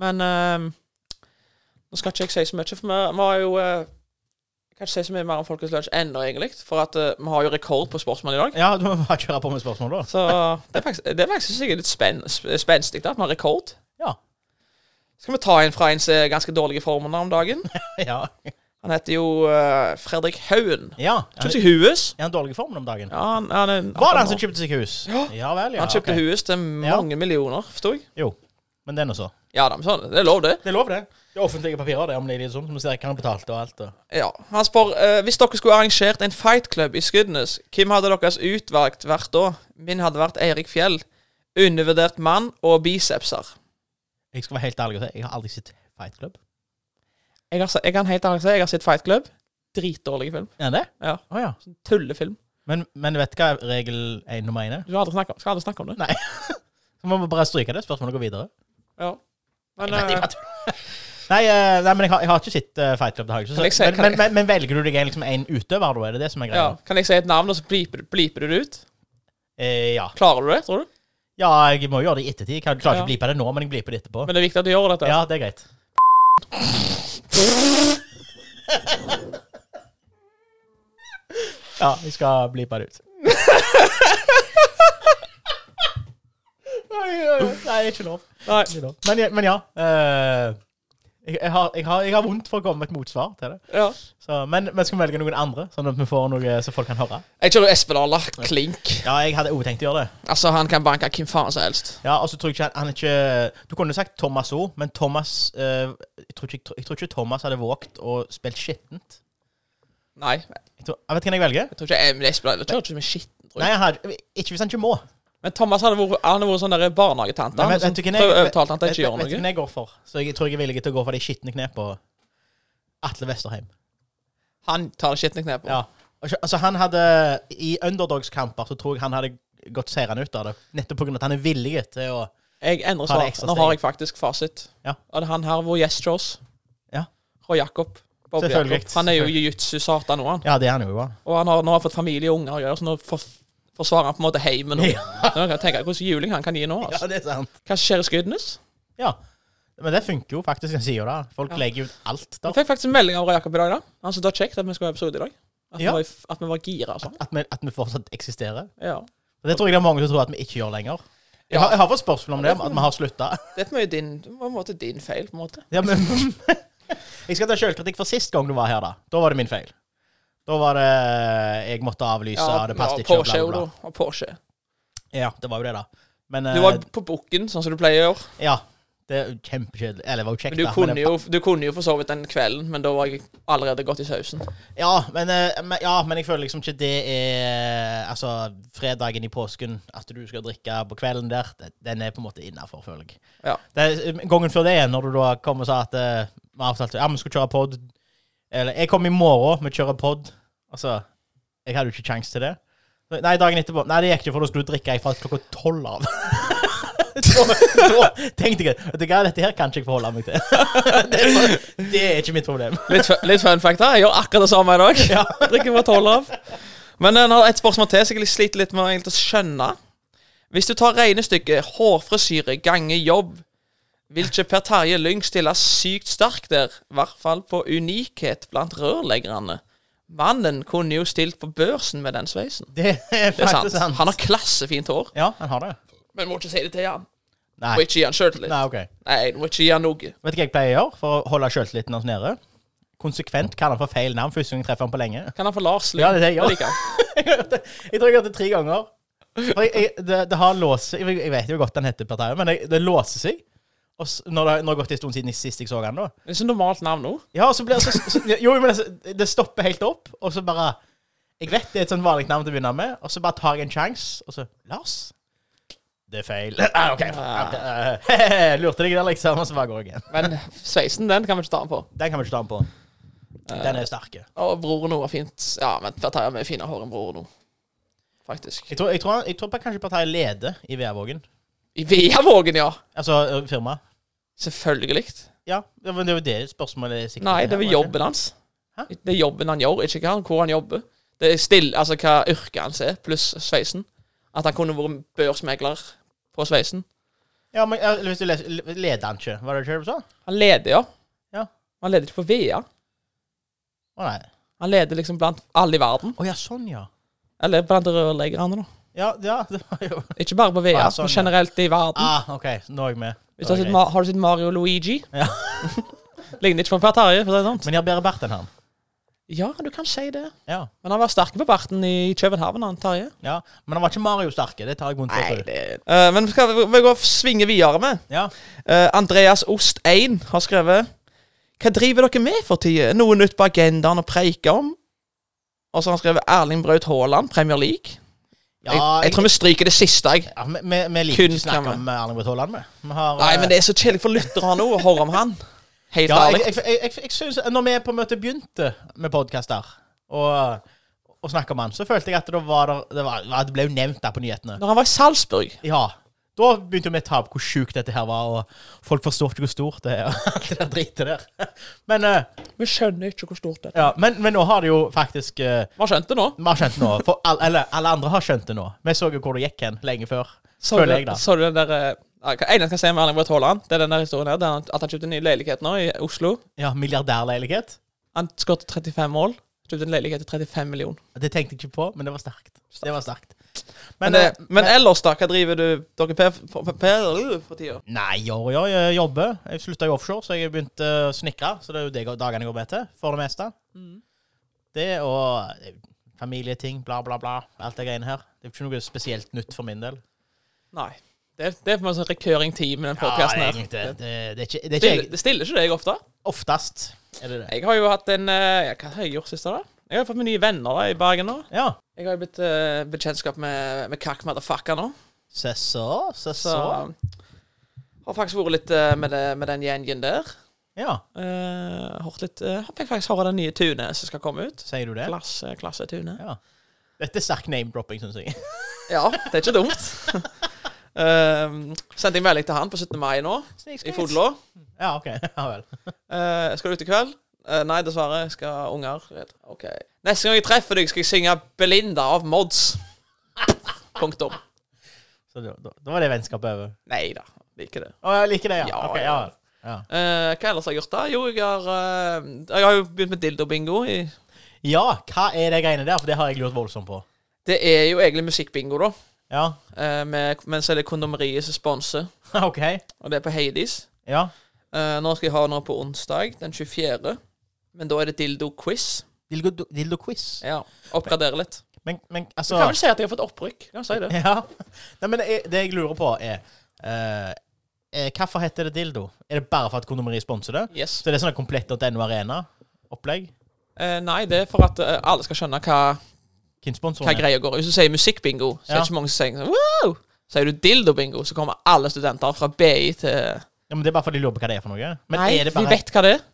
B: Men eh, nå skal ikke jeg si så mye, for vi vi har jo eh, jeg kan ikke si så mye mer om Folkets lunsj ennå, egentlig. For at eh, vi har jo rekord på spørsmål i dag.
A: Ja, Du må bare kjøre på med spørsmål, da.
B: Så det er faktisk, det er faktisk sikkert litt spenn, sp- spenstig da, at vi har rekord.
A: Ja.
B: Skal vi ta en fra en som er ganske dårlig i formen om dagen?
A: Ja.
B: Han heter jo eh, Fredrik Haugen.
A: ja.
B: Kjøpte
A: Er
B: seg hus.
A: han dårlig i formen om dagen?
B: Ja, han, han, er en-
A: Var det han som kjøpte seg hus? Ja vel, ja.
B: Han kjøpte
A: ok.
B: hus til mange millioner, forsto jeg.
A: Jo. Men det er nå så.
B: Ja, da, men sånn, det er lov, det.
A: Det er lov, det. Det er offentlige papirer, det, om det er litt sånn. Som ser hva han betalte og alt. Og.
B: Ja, Han spør eh, hvis dere skulle arrangert en fight club i Skudenes, hvem hadde deres utvalgt vært da? Min hadde vært Eirik Fjell. Undervurdert mann og bicepser.
A: Jeg skal være helt ærlig og si, jeg har aldri sett Fight Club.
B: Jeg, har, se- jeg kan helt ærlig si, jeg har sett Fight Club. Dritdårlig film.
A: Er han det?
B: Ja.
A: Å ja.
B: Sånn tullefilm.
A: Men, men vet du hva regel én nummer én er?
B: Du skal aldri snakke om, skal aldri snakke om det.
A: Så må vi bare stryke det. Spørsmålet går videre.
B: Ja. Men,
A: Nei,
B: eh,
A: det var tull. nei, eh, nei, men jeg har, jeg har ikke sett eh, Fight Club. Det har jeg ikke.
B: Kan jeg
A: Så,
B: se-
A: men,
B: kan
A: men,
B: jeg-
A: men, men velger du deg en, liksom, en utøver, da? Er det det som er
B: ja.
A: greia?
B: Kan jeg si et navn, og så bliper du- bliper du det ut?
A: Eh, ja.
B: Klarer du det, tror du?
A: ja, jeg må jo gjøre det i ettertid. Jeg klarer ikke
B: Ja.
A: å bli på det nå, men jeg blir på det etterpå.
B: Men det er viktig at du gjør dette.
A: ja, det er greit. Ja, jeg skal bli på det ut. Nei, eh, Nei, ikke lov.
B: Nei.
A: Ikke lov. Men, ja- men ja. eh, jeg, jeg, har, jeg, har, jeg har vondt for å komme med et motsvar til det.
B: Ja.
A: Så, men vi skal vi velge noen andre, sånn at vi får noe så folk kan høre.
B: Jeg kjører Espen Arla. Klink.
A: Ja, jeg hadde òg tenkt å gjøre det.
B: Altså, han kan banke hvem faen som helst.
A: Ja, og så tror jeg ikke han- han er ikke Du kunne sagt Thomas òg, men Thomas eh, jeg, tror ikke, jeg tror ikke Thomas hadde våget å spille skittent.
B: Nei, jeg
A: Jeg, tror, jeg vet hvem jeg velger.
B: tror ikke Emily Espelid Jeg tror ikke hun er skitten, tror jeg.
A: Nei, jeg har, ikke hvis han ikke må.
B: Men Thomas hadde vært, han hadde vært sånn der barnehagetante.
A: Men
B: Han
A: vet-
B: sånn,
A: vet du hvem jeg-
B: prøver å overtale han til ikke å
A: vet, vet
B: gjøre
A: du
B: noe.
A: hvem jeg går for? Så jeg tror jeg er villig til å gå for de skitne knepene. Atle Vesterheim.
B: Han tar det skitne knepet.
A: Ja. Altså, altså, han hadde I underdogskamper så tror jeg han hadde gått seirende ut av det. Nettopp pga. at han er villig til å
B: Jeg endrer
A: Ta det
B: svar.
A: ekstra
B: Nå
A: steg.
B: har jeg faktisk fasit.
A: Ja.
B: Og det er han her, vår gjest hos oss.
A: Ja.
B: Roy Jakob. Bob
A: Selvfølgelig.
B: Jakob. Han er jo jiu-jitsu-satan nå, han.
A: Ja, det er han jo. Ja.
B: Og han har nå har fått familie og unger å gjøre, så nå for, forsvarer han på en måte heimen. nå.
A: Ja.
B: Så nå kan jeg tenke hvordan juling han kan gi nå.
A: ja,
B: altså.
A: det er sant.
B: Hva skjer i Skudenes?
A: Ja. Men det funker jo faktisk, han sier jo det. Folk
B: Ja.
A: legger ut alt der.
B: Jeg fikk faktisk en melding av Roy Jakob i dag. da. Han syntes det var kjekt at vi skulle ha episode i dag. At,
A: Ja.
B: vi, var, i f- at vi var gira og sånn.
A: At vi, at vi fortsatt eksisterer.
B: Ja.
A: Og Det tror jeg det er mange som tror at vi ikke gjør lenger. Jeg
B: Ja.
A: har, jeg har fått spørsmål om det, om at vi har slutta.
B: Det er på en måte din, på en måte din feil, på en måte.
A: Ja, men Jeg skal ta sjølkritikk for sist gang du var her, da. Da var det min feil. Da var det Jeg måtte avlyse, det passet ikke. og
B: Porsche,
A: bla, bla, bla.
B: og- og Porsche.
A: Eh, Ja, det var jo det, da. Men
B: Du
A: eh,
B: var på bukken, sånn som du pleier å gjøre.
A: Ja. Det er jo kjempekjedelig. Eller det var jo kjekt,
B: Men du,
A: da.
B: kunne
A: det-
B: jo, du kunne jo for så vidt den kvelden, men da var jeg allerede godt i sausen.
A: Ja men, eh, men, ja, men jeg føler liksom ikke det er Altså, fredagen i påsken, at du skal drikke på kvelden der, det- den er på en måte innafor, føler jeg.
B: Ja.
A: Det, um, gangen før det igjen, når du da kom og sa at eh, vi avtalte ja, vi skulle kjøre pod Eller jeg kommer i morgen, vi kjører pod. Altså, jeg hadde jo ikke kjangs til det. Nei, dagen etterpå. Nei, det gikk ikke, for da skulle du drikke ifra klokka tolv av. da, da tenkte jeg at dette her kan ikke jeg forholde meg til. det, er bare- det er ikke mitt problem.
B: Litt, fu- litt fun fact her. Jeg gjør akkurat det samme i dag.
A: Ja.
B: Drikker bare tolv av. Men eh, nå har jeg et spørsmål til, så jeg sliter litt med å egentlig skjønne. Hvis du tar regnestykket hårfrisyre ganger jobb, vil ikke Per Terje Lyng stille sykt sterkt der, i hvert fall på unikhet blant rørleggerne. Mannen kunne jo stilt på børsen med den sveisen.
A: Det er
B: Det er
A: faktisk
B: sant.
A: sant.
B: Han har klassefint hår,
A: Ja, han har det.
B: men må ikke si det til han.
A: Nei.
B: Må ikke gi han sjøltillit.
A: Nei, ok.
B: Nei, du må ikke gi han noe.
A: Vet du hva jeg pleier å gjøre for å holde sjøltilliten hans nede? Konsekvent kaller han for feil navn første gang jeg treffer han på lenge.
B: Kan han få Lars Lyng?
A: Ja, det er det jeg gjør.
B: liker han.
A: jeg tror jeg har gjort det tre ganger. For jeg, jeg, det, det har låst seg Jeg vet jo godt han heter Parteien, men jeg, det låser seg. Og s- når det når det har gått en stund siden jeg sist jeg så han da.
B: Det er så normalt navn nå.
A: Ja, og så blir det så, så Jo, men det, det stopper helt opp, og så bare Jeg vet det er et sånn vanlig navn til å begynne med, og så bare tar jeg en sjanse, og så Lars? Det er feil. Ah, OK. ok, eh, Lurte deg der, liksom, og så bare går jeg igjen.
B: Men sveisen, den kan vi ikke ta den på.
A: Den kan vi ikke ta den på. Den er sterke.
B: Og broren nå var fint. Ja, men Per Terje har mye finere hår enn broren nå. Faktisk.
A: Jeg tror, jeg tror, han- jeg tror bare kanskje partiet leder i Veavågen.
B: I Veavågen, ja!
A: Altså ø, firmaet.
B: Selvfølgelig.
A: Ja, ja, men det er jo det spørsmålet er sikkert.
B: Nei, det er
A: var
B: vel jobben hans.
A: Hæ?
B: Det er jobben han gjør, ikke hva han, hvor han jobber. Det er still, altså hva yrket hans er, pluss sveisen. At han kunne vært børsmegler på sveisen.
A: Ja, men ja, hvis du leser, le- leder han ikke? Var det ikke det du sa?
B: Han leder, ja.
A: Ja.
B: Han leder ikke på VEA.
A: Å nei.
B: Han leder liksom blant alle i verden.
A: Å ja, sånn ja.
B: Eller blant rørleggerne, da.
A: Ja, ja, det var jo
B: Ikke bare på VEA,
A: Ah, sånn,
B: men
A: ja.
B: generelt i verden.
A: Ah, OK, så nå er jeg med.
B: Hvis
A: Det
B: du
A: var
B: har, sett,
A: greit.
B: Ma- har du sett Mario og Luigi?
A: Ja.
B: Ligner ikke på Per Terje, for å si det sånn.
A: Men de har bedre bart enn han.
B: Ja, du kan si det.
A: Ja,
B: Men han var sterk på barten i København, han Terje.
A: ja. Men han var ikke Mario sterke. Det tar jeg vondt for.
B: det... Eh, men skal vi, vi gå og svinge videre med?
A: Ja.
B: Eh, Andreas Ost 1 har skrevet Hva driver dere med for tida? Noe nytt på agendaen å preike om? Og så har han skrevet Erling Braut Haaland, Premier League.
A: ja
B: jeg, jeg, tror vi stryker det siste, jeg.
A: ja, vi, vi, vi liker ikke å
B: Kun
A: snakke
B: kan vi.
A: om eh, Erling Braut Haaland, vi. Vi har
B: Nei,
A: eh,
B: men det er så kjedelig for lytterne nå å høre om han. Helt
A: Ja, jeg,
B: ærlig.
A: jeg, jeg, jeg, jeg synes, Når vi på en måte begynte med podkaster og, og snakka om han, så følte jeg at det, var der, det, var, det ble jo nevnt der på nyhetene.
B: Når han var i Salzburg
A: Ja. Da begynte vi å ta opp hvor sjukt dette her var, og folk forstår ikke hvor stort det er. og alt det der dritet der. Men, eh,
B: Vi skjønner ikke hvor stort det er.
A: ja, men, men nå har det jo faktisk eh,
B: Vi har skjønt det nå.
A: Vi har skjønt det nå. For all, eller alle andre har skjønt det nå. Vi så jo hvor det gikk hen lenge før.
B: Så
A: føler
B: du-
A: jeg, da.
B: Så du den der eh, ja, hva- En jeg kan si med Erling Braut Haaland, det er den der historien her. det er han- At han kjøpte en ny leilighet nå i Oslo.
A: Ja, Milliardærleilighet.
B: Han skåret 35 mål. Kjøpte en leilighet til 35 millioner.
A: Det tenkte jeg ikke på, men det var sterkt. Det var sterkt.
B: Men,
A: Men,
B: eh,
A: eh,
B: men ellers, da? Hva driver du dere Per for, for, for, for tida?
A: Nei, ja, ja, jeg jobber. Jeg slutta i offshore, så jeg begynte å snekre. Så det er jo det dagene jeg går med til, for det meste. Det og eh, familieting, bla, bla, bla. Alt det greiene her. Det er jo ikke noe spesielt nytt for min del.
B: Nei. Det, det er på en måte sånn recurring team i den
A: Ja,
B: podkasten her.
A: egentlig. Det, det, det er ikke, det er ikke
B: Stiller,
A: jeg.
B: det stiller ikke deg ofte?
A: Oftest er det det.
B: Jeg har jo hatt en eh, ja, Hva har jeg gjort sist, da? Jeg har fått meg nye venner da, i Bergen nå.
A: Ja.
B: Jeg har jo blitt uh, bekjentskap med, med Kakk Motherfucker nå.
A: Se så, se
B: Så
A: så.
B: har faktisk vært litt eh, med, det, med den gjengen der.
A: Ja,
B: Eh, hørt litt eh, Fikk faktisk høre den nye Tune som skal komme ut. eh,
A: sier du det?
B: Klasse, klasse Tune.
A: Ja. Dette er sterk name-dropping, syns jeg.
B: Ja, det er ikke dumt. Eh, sendte jeg melding til han på 17. mai nå, i Fodlå.
A: Ja, ok. Ja vel.
B: Eh, skal du ut i kveld? Eh, nei, dessverre. Jeg skal ha unger. Ok. Neste gang jeg treffer deg, skal jeg synge 'Belinda' av Mods. Punktum.
A: Så da, da, da var det vennskapet over.
B: Nei da, liker det.
A: Å, jeg liker det, ja.
B: Ja,
A: Ok, ja vel. Ja.
B: Eh, hva ellers har jeg gjort, da? Jo, jeg har, eh, jeg har jo begynt med dildobingo. i-
A: ja, hva er det greiene der? For det har jeg lurt voldsomt på.
B: Det er jo egentlig musikkbingo, da.
A: Ja,
B: Eh, med, men så er det kondomeriet som sponser,
A: ok.
B: og det er på Hades.
A: Ja.
B: Eh, nå skal jeg ha noe på onsdag, den 24., men da er det dildo-quiz.
A: Dildo, dildo quiz.
B: Ja, Oppgradere litt.
A: Men, men
B: Du
A: altså
B: kan vel si at jeg har fått opprykk. Kan jeg si det?
A: Ja. Nei, men det, det jeg lurer på, er eh, eh, Hvorfor heter det dildo? Er det bare for at kondomeri sponser det?
B: Yes.
A: Så det er sånn komplett.no Arena-opplegg?
B: Eh, nei, det er for at eh, alle skal skjønne hva
A: Hvem
B: hva
A: sponsorer det?
B: greia går. Hvis du sier musikkbingo, så er
A: Ja.
B: det ikke mange som sier sånn, wow! Sier du dildobingo, så kommer alle studenter fra BI til
A: Ja, men det er bare fordi de lurer på hva det er for noe? Men
B: Nei,
A: er det
B: de
A: bare
B: vet hva det er.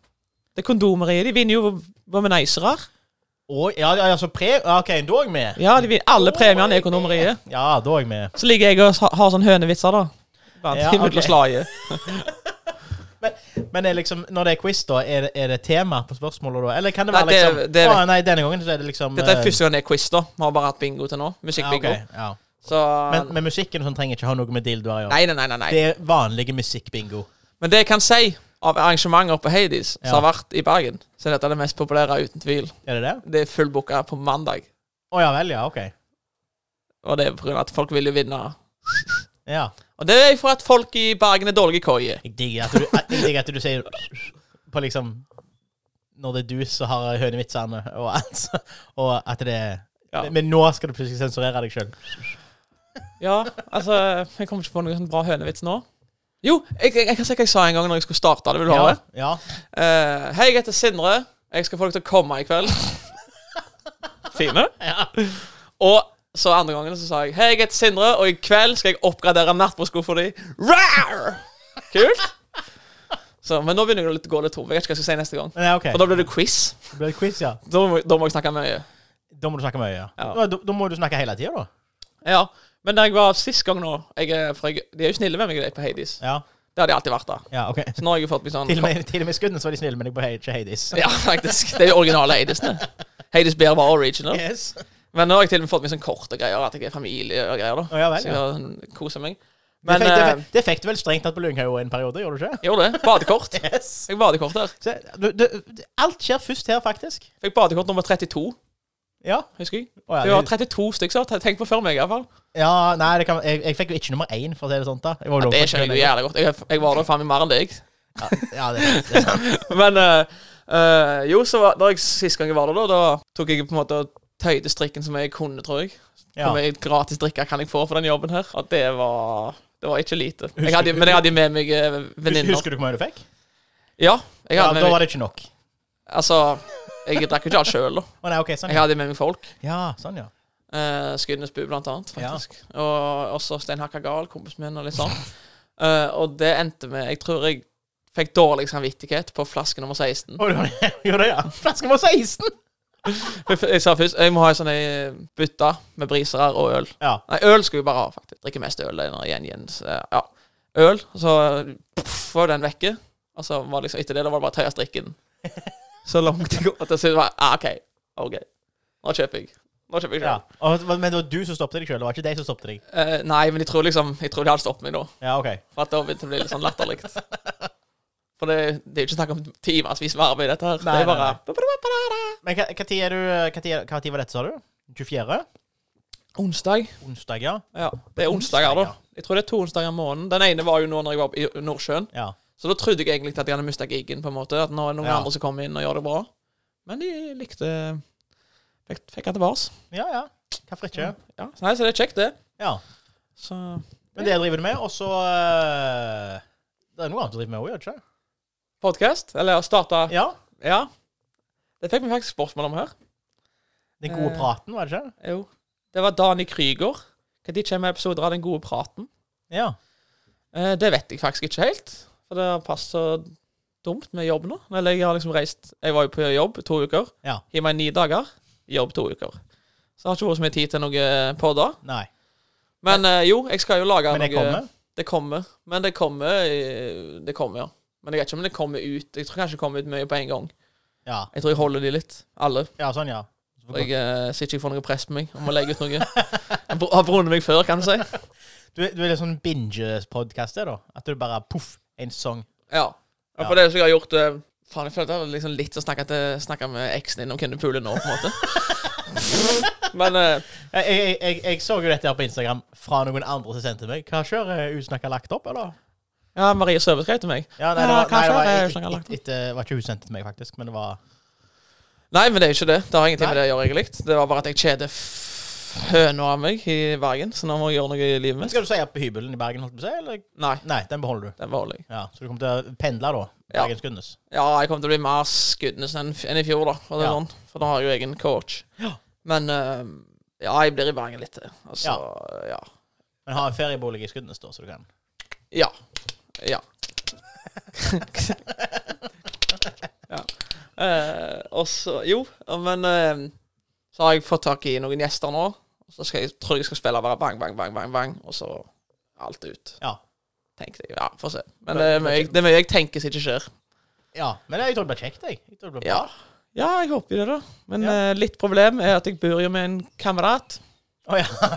B: Det er kondomeriet. De vinner jo Womanizere.
A: Å, ja, ja, ja, så pre... ja, OK, da er jeg med.
B: Ja, de vinner. alle premiene er kondomeriet.
A: Ja, da er jeg med.
B: Så ligger jeg og ha- har sånne hønevitser, da. Blant
A: Ja,
B: ja,
A: ok.
B: slaget.
A: Men er liksom, når det er quiz, da, er det, er det tema på spørsmålet da? Eller kan det
B: Nei,
A: være
B: det-
A: liksom
B: det er-
A: Å, Nei, denne gangen så er det liksom
B: Dette er
A: eh,
B: første gang det er quiz, da. Vi har bare hatt bingo til nå.
A: ja,
B: Musikkbingo.
A: ok, ja.
B: Så
A: Men, men musikken og sånn trenger ikke ha noe med dildoer å gjøre.
B: Nei, nei, nei. nei, nei.
A: Det er vanlige musikkbingo.
B: Men det jeg kan si av arrangementer på Hades som
A: Ja.
B: har vært i Bergen, så er dette det mest populære, uten tvil.
A: Er det det?
B: Det er fullbooka på mandag.
A: Å ja vel, ja. OK.
B: Og det er pga. at folk vil jo vinne.
A: Ja.
B: Og det er for at folk i Bergen er dårlige i køye.
A: Jeg digger at du, jeg digger at du sier på liksom Når det er du som har hønevitsene, og, altså, og at det er
B: Ja.
A: Men nå skal du plutselig sensurere deg sjøl.
B: Ja, altså Jeg kommer ikke på noen sånn bra hønevits nå. Jo, jeg, jeg, jeg kan si hva jeg sa en gang når jeg skulle starte. det vil du ha
A: Ja,
B: det?
A: ja.
B: Eh, Hei, jeg heter Sindre. Jeg skal få dere til å komme i kveld. Fine. Og så andre gangen så sa jeg Hei, jeg heter Sindre, og i kveld skal jeg oppgradere nattbordskuffa di. Rar! Kult. Så, men nå begynner jeg å litt- gå litt tom. Jeg vet ikke hva jeg skal si neste gang.
A: Men ja, OK.
B: For da blir det quiz.
A: Det blir quiz, ja.
B: Da må, da må jeg snakke mye.
A: Da må du snakke mye. Ja.
B: Ja.
A: Da, da må du snakke hele tida, da.
B: Ja, men da jeg var sist gang nå jeg, er- for jeg, De er jo snille med meg i det på Hades.
A: Ja,
B: Det har de alltid vært da.
A: ja OK.
B: Så nå har jeg fått meg sånn
A: Til og med, til og med i skuddene så var de snille med deg på Hades- Hades.
B: Ja, faktisk. Det er de originale Hadesene. Hades Bear var original.
A: Yes.
B: Men nå har jeg til og med fått meg sånn kort og greier, at jeg er familie og greier. da
A: Å, ja vel,
B: Så jeg har sånn, koser meg.
A: Men,
B: Men
A: det, fikk, det,
B: eh,
A: fikk, det fikk du vel strengt tatt på Lynghaug en periode, gjorde du ikke?
B: gjorde det. Badekort.
A: Yes.
B: Fikk badekort der.
A: Se, du, du, alt skjer først her, faktisk.
B: Fikk badekort nummer 32,
A: Ja.
B: husker jeg.
A: Å,
B: Det
A: ja,
B: var 32 stykker, så tenk på før meg i hvert fall.
A: ja nei, det kan, jeg, jeg fikk jo ikke nummer én, for å si det sånn. da. Jeg var jo
B: Det
A: lovpålagt
B: skjønner jeg jo
A: lenge.
B: jævlig godt. Jeg, jeg var der faen meg mer enn deg.
A: Ja, ja, det, er- det, er sant.
B: Men eh, eh, jo, så var, da jeg sist gang jeg var der, da, da tok jeg på en måte og tøyde strikken som jeg kunne, tror jeg.
A: Ja.
B: Hvor mye gratis drikke kan jeg få for den jobben her? Og det var, det var ikke lite. Jeg hadde, men jeg hadde med meg eh,
A: Hus-
B: venninner.
A: Husker du hvor mye du fikk?
B: Ja, jeg
A: Ja, Da
B: hadde med
A: var
B: meg
A: det ikke nok.
B: Altså, jeg drakk jo ikke alt sjøl, da.
A: Å nei, ok, sånn
B: Jeg
A: ja.
B: hadde med meg folk.
A: ja. Sånn, ja.
B: Uh, Skudenes Bu, blant annet, faktisk. Og også Stein Hakka Gahl, kompisen min, og litt sånn. Eh, og det endte med Jeg tror jeg fikk dårlig samvittighet på flaske nummer 16.
A: Å, du gjorde det, ja. Flaske var 16!
B: Jeg, jeg sa først jeg må ha ei sånn ei bytte med brisere og øl.
A: Ja.
B: Nei, øl skal vi bare ha, faktisk. Drikke mest øl. det er når igjen, igjen, så, ja. Øl, og så puff, var den vekke. Og så var det liksom, etter det da var det bare å tøye strikken. Så langt det går. At jeg syntes det var ah, OK. ok. Nå kjøper jeg. Nå kjøper jeg
A: ja.
B: sjøl.
A: Og, men det var du som stoppet deg sjøl, det var ikke de som stoppet deg?
B: Eh, nei, men jeg tror liksom Jeg tror de hadde stoppet meg nå.
A: Ja, ok.
B: For at da begynte det å bli litt sånn latterlig. For det, det er jo ikke snakk om timevis med arbeid, dette her.
A: Nei,
B: det er
A: nei,
B: bare
A: Men hva- hva tid er du hva tid er- hva tid var dette, sa du? 24.?
B: Onsdag.
A: Onsdag, ja?
B: Ja, det er onsdager, da. Jeg tror det er to onsdager i måneden. Den ene var jo nå når jeg var i Nordsjøen.
A: Ja.
B: Så da trodde jeg egentlig at de hadde mista gigen, på en måte. At nå er det noen
A: Ja.
B: andre som kommer inn og gjør det bra. Men de likte Fikk, fikk han tilbake.
A: Ja, ja. Hvorfor ikke?
B: Ja. Så, nei, så det er kjekt, det.
A: Ja.
B: Så
A: Men det driver du med, og så eh, Det er noe annet du driver med òg, gjør det ikke?
B: Podkast? Eller å starte
A: Ja.
B: Ja. Det fikk vi faktisk spørsmål om her.
A: Den gode
B: Eh.
A: praten, var det ikke?
B: Jo. Det var Dani Krüger. Når kommer episoder av Den gode praten?
A: Ja.
B: Eh, det vet jeg faktisk ikke helt. For det har passet så dumt med jobb nå. Eller jeg har liksom reist Jeg var jo på jobb to uker.
A: Ja.
B: Gi meg ni dager. Jobb to uker. Så jeg har ikke vært så mye tid til noe podder.
A: Nei.
B: Men eh, jo, jeg skal jo lage
A: Men jeg
B: noe
A: kommer.
B: Det kommer. Men det kommer, eh, det kommer, ja. Men jeg vet ikke om det kommer ut. Jeg tror kanskje det kommer ut mye på en gang.
A: Ja.
B: Jeg tror jeg holder de litt, alle.
A: ja, sånn, ja.
B: For jeg eh, ser ikke jeg får noe press på meg om å legge ut noe. Jeg br- har brunnet meg før, kan du si.
A: Du, er- du er litt sånn binge-podkast, da? At du bare poff, en sesong.
B: Ja. ja. For det som jeg har gjort eh, Faen, jeg føler det er liksom litt å snakke, til, snakke med eksen din om hvem du puler nå, på en måte. Men eh,
A: Jeg, jeg, jeg, jeg så jo dette her på Instagram fra noen andre som sendte meg. Hva skjer? Er Usnakka lagt opp, eller?
B: Ja, Marie Søve skrev til meg.
A: Ja, nei,
B: Ja,
A: det var, nei,
B: kanskje
A: det var,
B: det er
A: et-
B: Usnakka lagt
A: et- et- det var ikke hun sendte til meg, faktisk. Men det var
B: Nei, men det er jo ikke det. Det har ingenting med
A: Nei.
B: det å gjøre, egentlig. Det var bare at jeg kjeder f- høna av meg i Bergen, så nå må jeg gjøre noe i livet
A: Men
B: mitt.
A: Skal du si opp på hybelen i Bergen, holdt på å si? Eller?
B: Nei,
A: Nei, den beholder du.
B: den beholder jeg.
A: Ja, Så du kommer til å pendle, da?
B: Ja.
A: Bergens Gunnes.
B: Ja, jeg kommer til å bli mer skuddnes enn f- enn i fjor, da. For, det er
A: Ja.
B: sånn. for da har jeg jo egen coach.
A: Ja.
B: Men eh, ja, jeg blir i Bergen litt til. Altså, ja.
A: Men ha en feriebolig i Skudenes, da, så du kan
B: Ja. Ja. ja. Eh, og så Jo, men eh, så har jeg fått tak i noen gjester nå. Og så skal jeg, tror jeg jeg skal spille bare bang, bang, bang, bang, bang, og så alt ut.
A: Ja.
B: Tenkte jeg. Ja, få se. Men det er, mye, jeg- det er mye jeg tenker som ikke skjer.
A: Ja, Men jeg tror det blir kjekt, jeg. jeg tror det blir bra.
B: Ja. ja, jeg håper jo det, da. Men
A: Ja.
B: eh, litt problem er at jeg bor jo med en kamerat.
A: Å ja.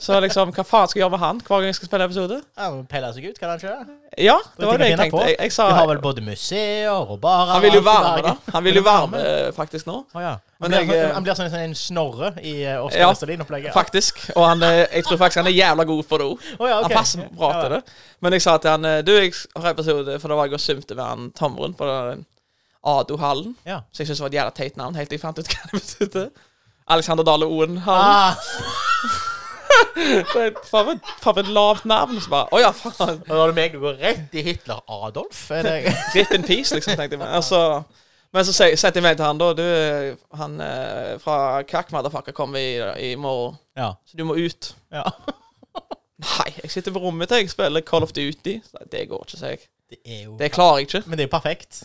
B: Så liksom, hva faen skal jeg gjøre med han hver gang jeg skal spille episode?
A: ja men Peller seg ut, kan han ikke det?
B: Ja,
A: Det
B: det var
A: kan
B: det
A: jeg
B: jeg
A: finne
B: tenkte.
A: på.
B: Jeg, jeg sa,
A: Vi har vel både museer og barer
B: han vil jo
A: og alt i
B: være med,
A: Bergen.
B: da. Han vil jo være med eh, faktisk nå.
A: Å ja. Han
B: Men
A: blir,
B: jeg,
A: sånn,
B: eh,
A: han blir sånn, sånn en snorre i eh,
B: Ja.
A: Oscar Westelin-opplegget.
B: Faktisk. Og han, eh, jeg tror faktisk han er jævla god på det òg.
A: Å ja, ok.
B: Han passer bra til det. Men jeg sa til han eh, Du, jeg har episode For da var jeg og svømte med han Tomren på den eh, Ado-hallen.
A: Ja.
B: Så jeg syntes det var et jævla teit navn, helt til jeg fant ut hva det betydde. Alexander Dale Oen-hallen.
A: Ah,
B: Faen, for et lavt navn. Så bare Å ja, faen.
A: og da er det meg du går rett i Hitler Adolf. Er det...
B: Rip in peace, liksom, tenkte jeg. meg. Altså, men så sier- setter jeg meg til han, da. Du, han eh, fra Kak Motherfucker kommer i, i morgen,
A: ja.
B: så du må ut.
A: ja.
B: Nei, jeg sitter på rommet til jeg spiller Call of Duty. Så Nei, det går ikke, sier jeg.
A: Det er jo
B: Det klarer jeg ikke.
A: Men det er jo perfekt.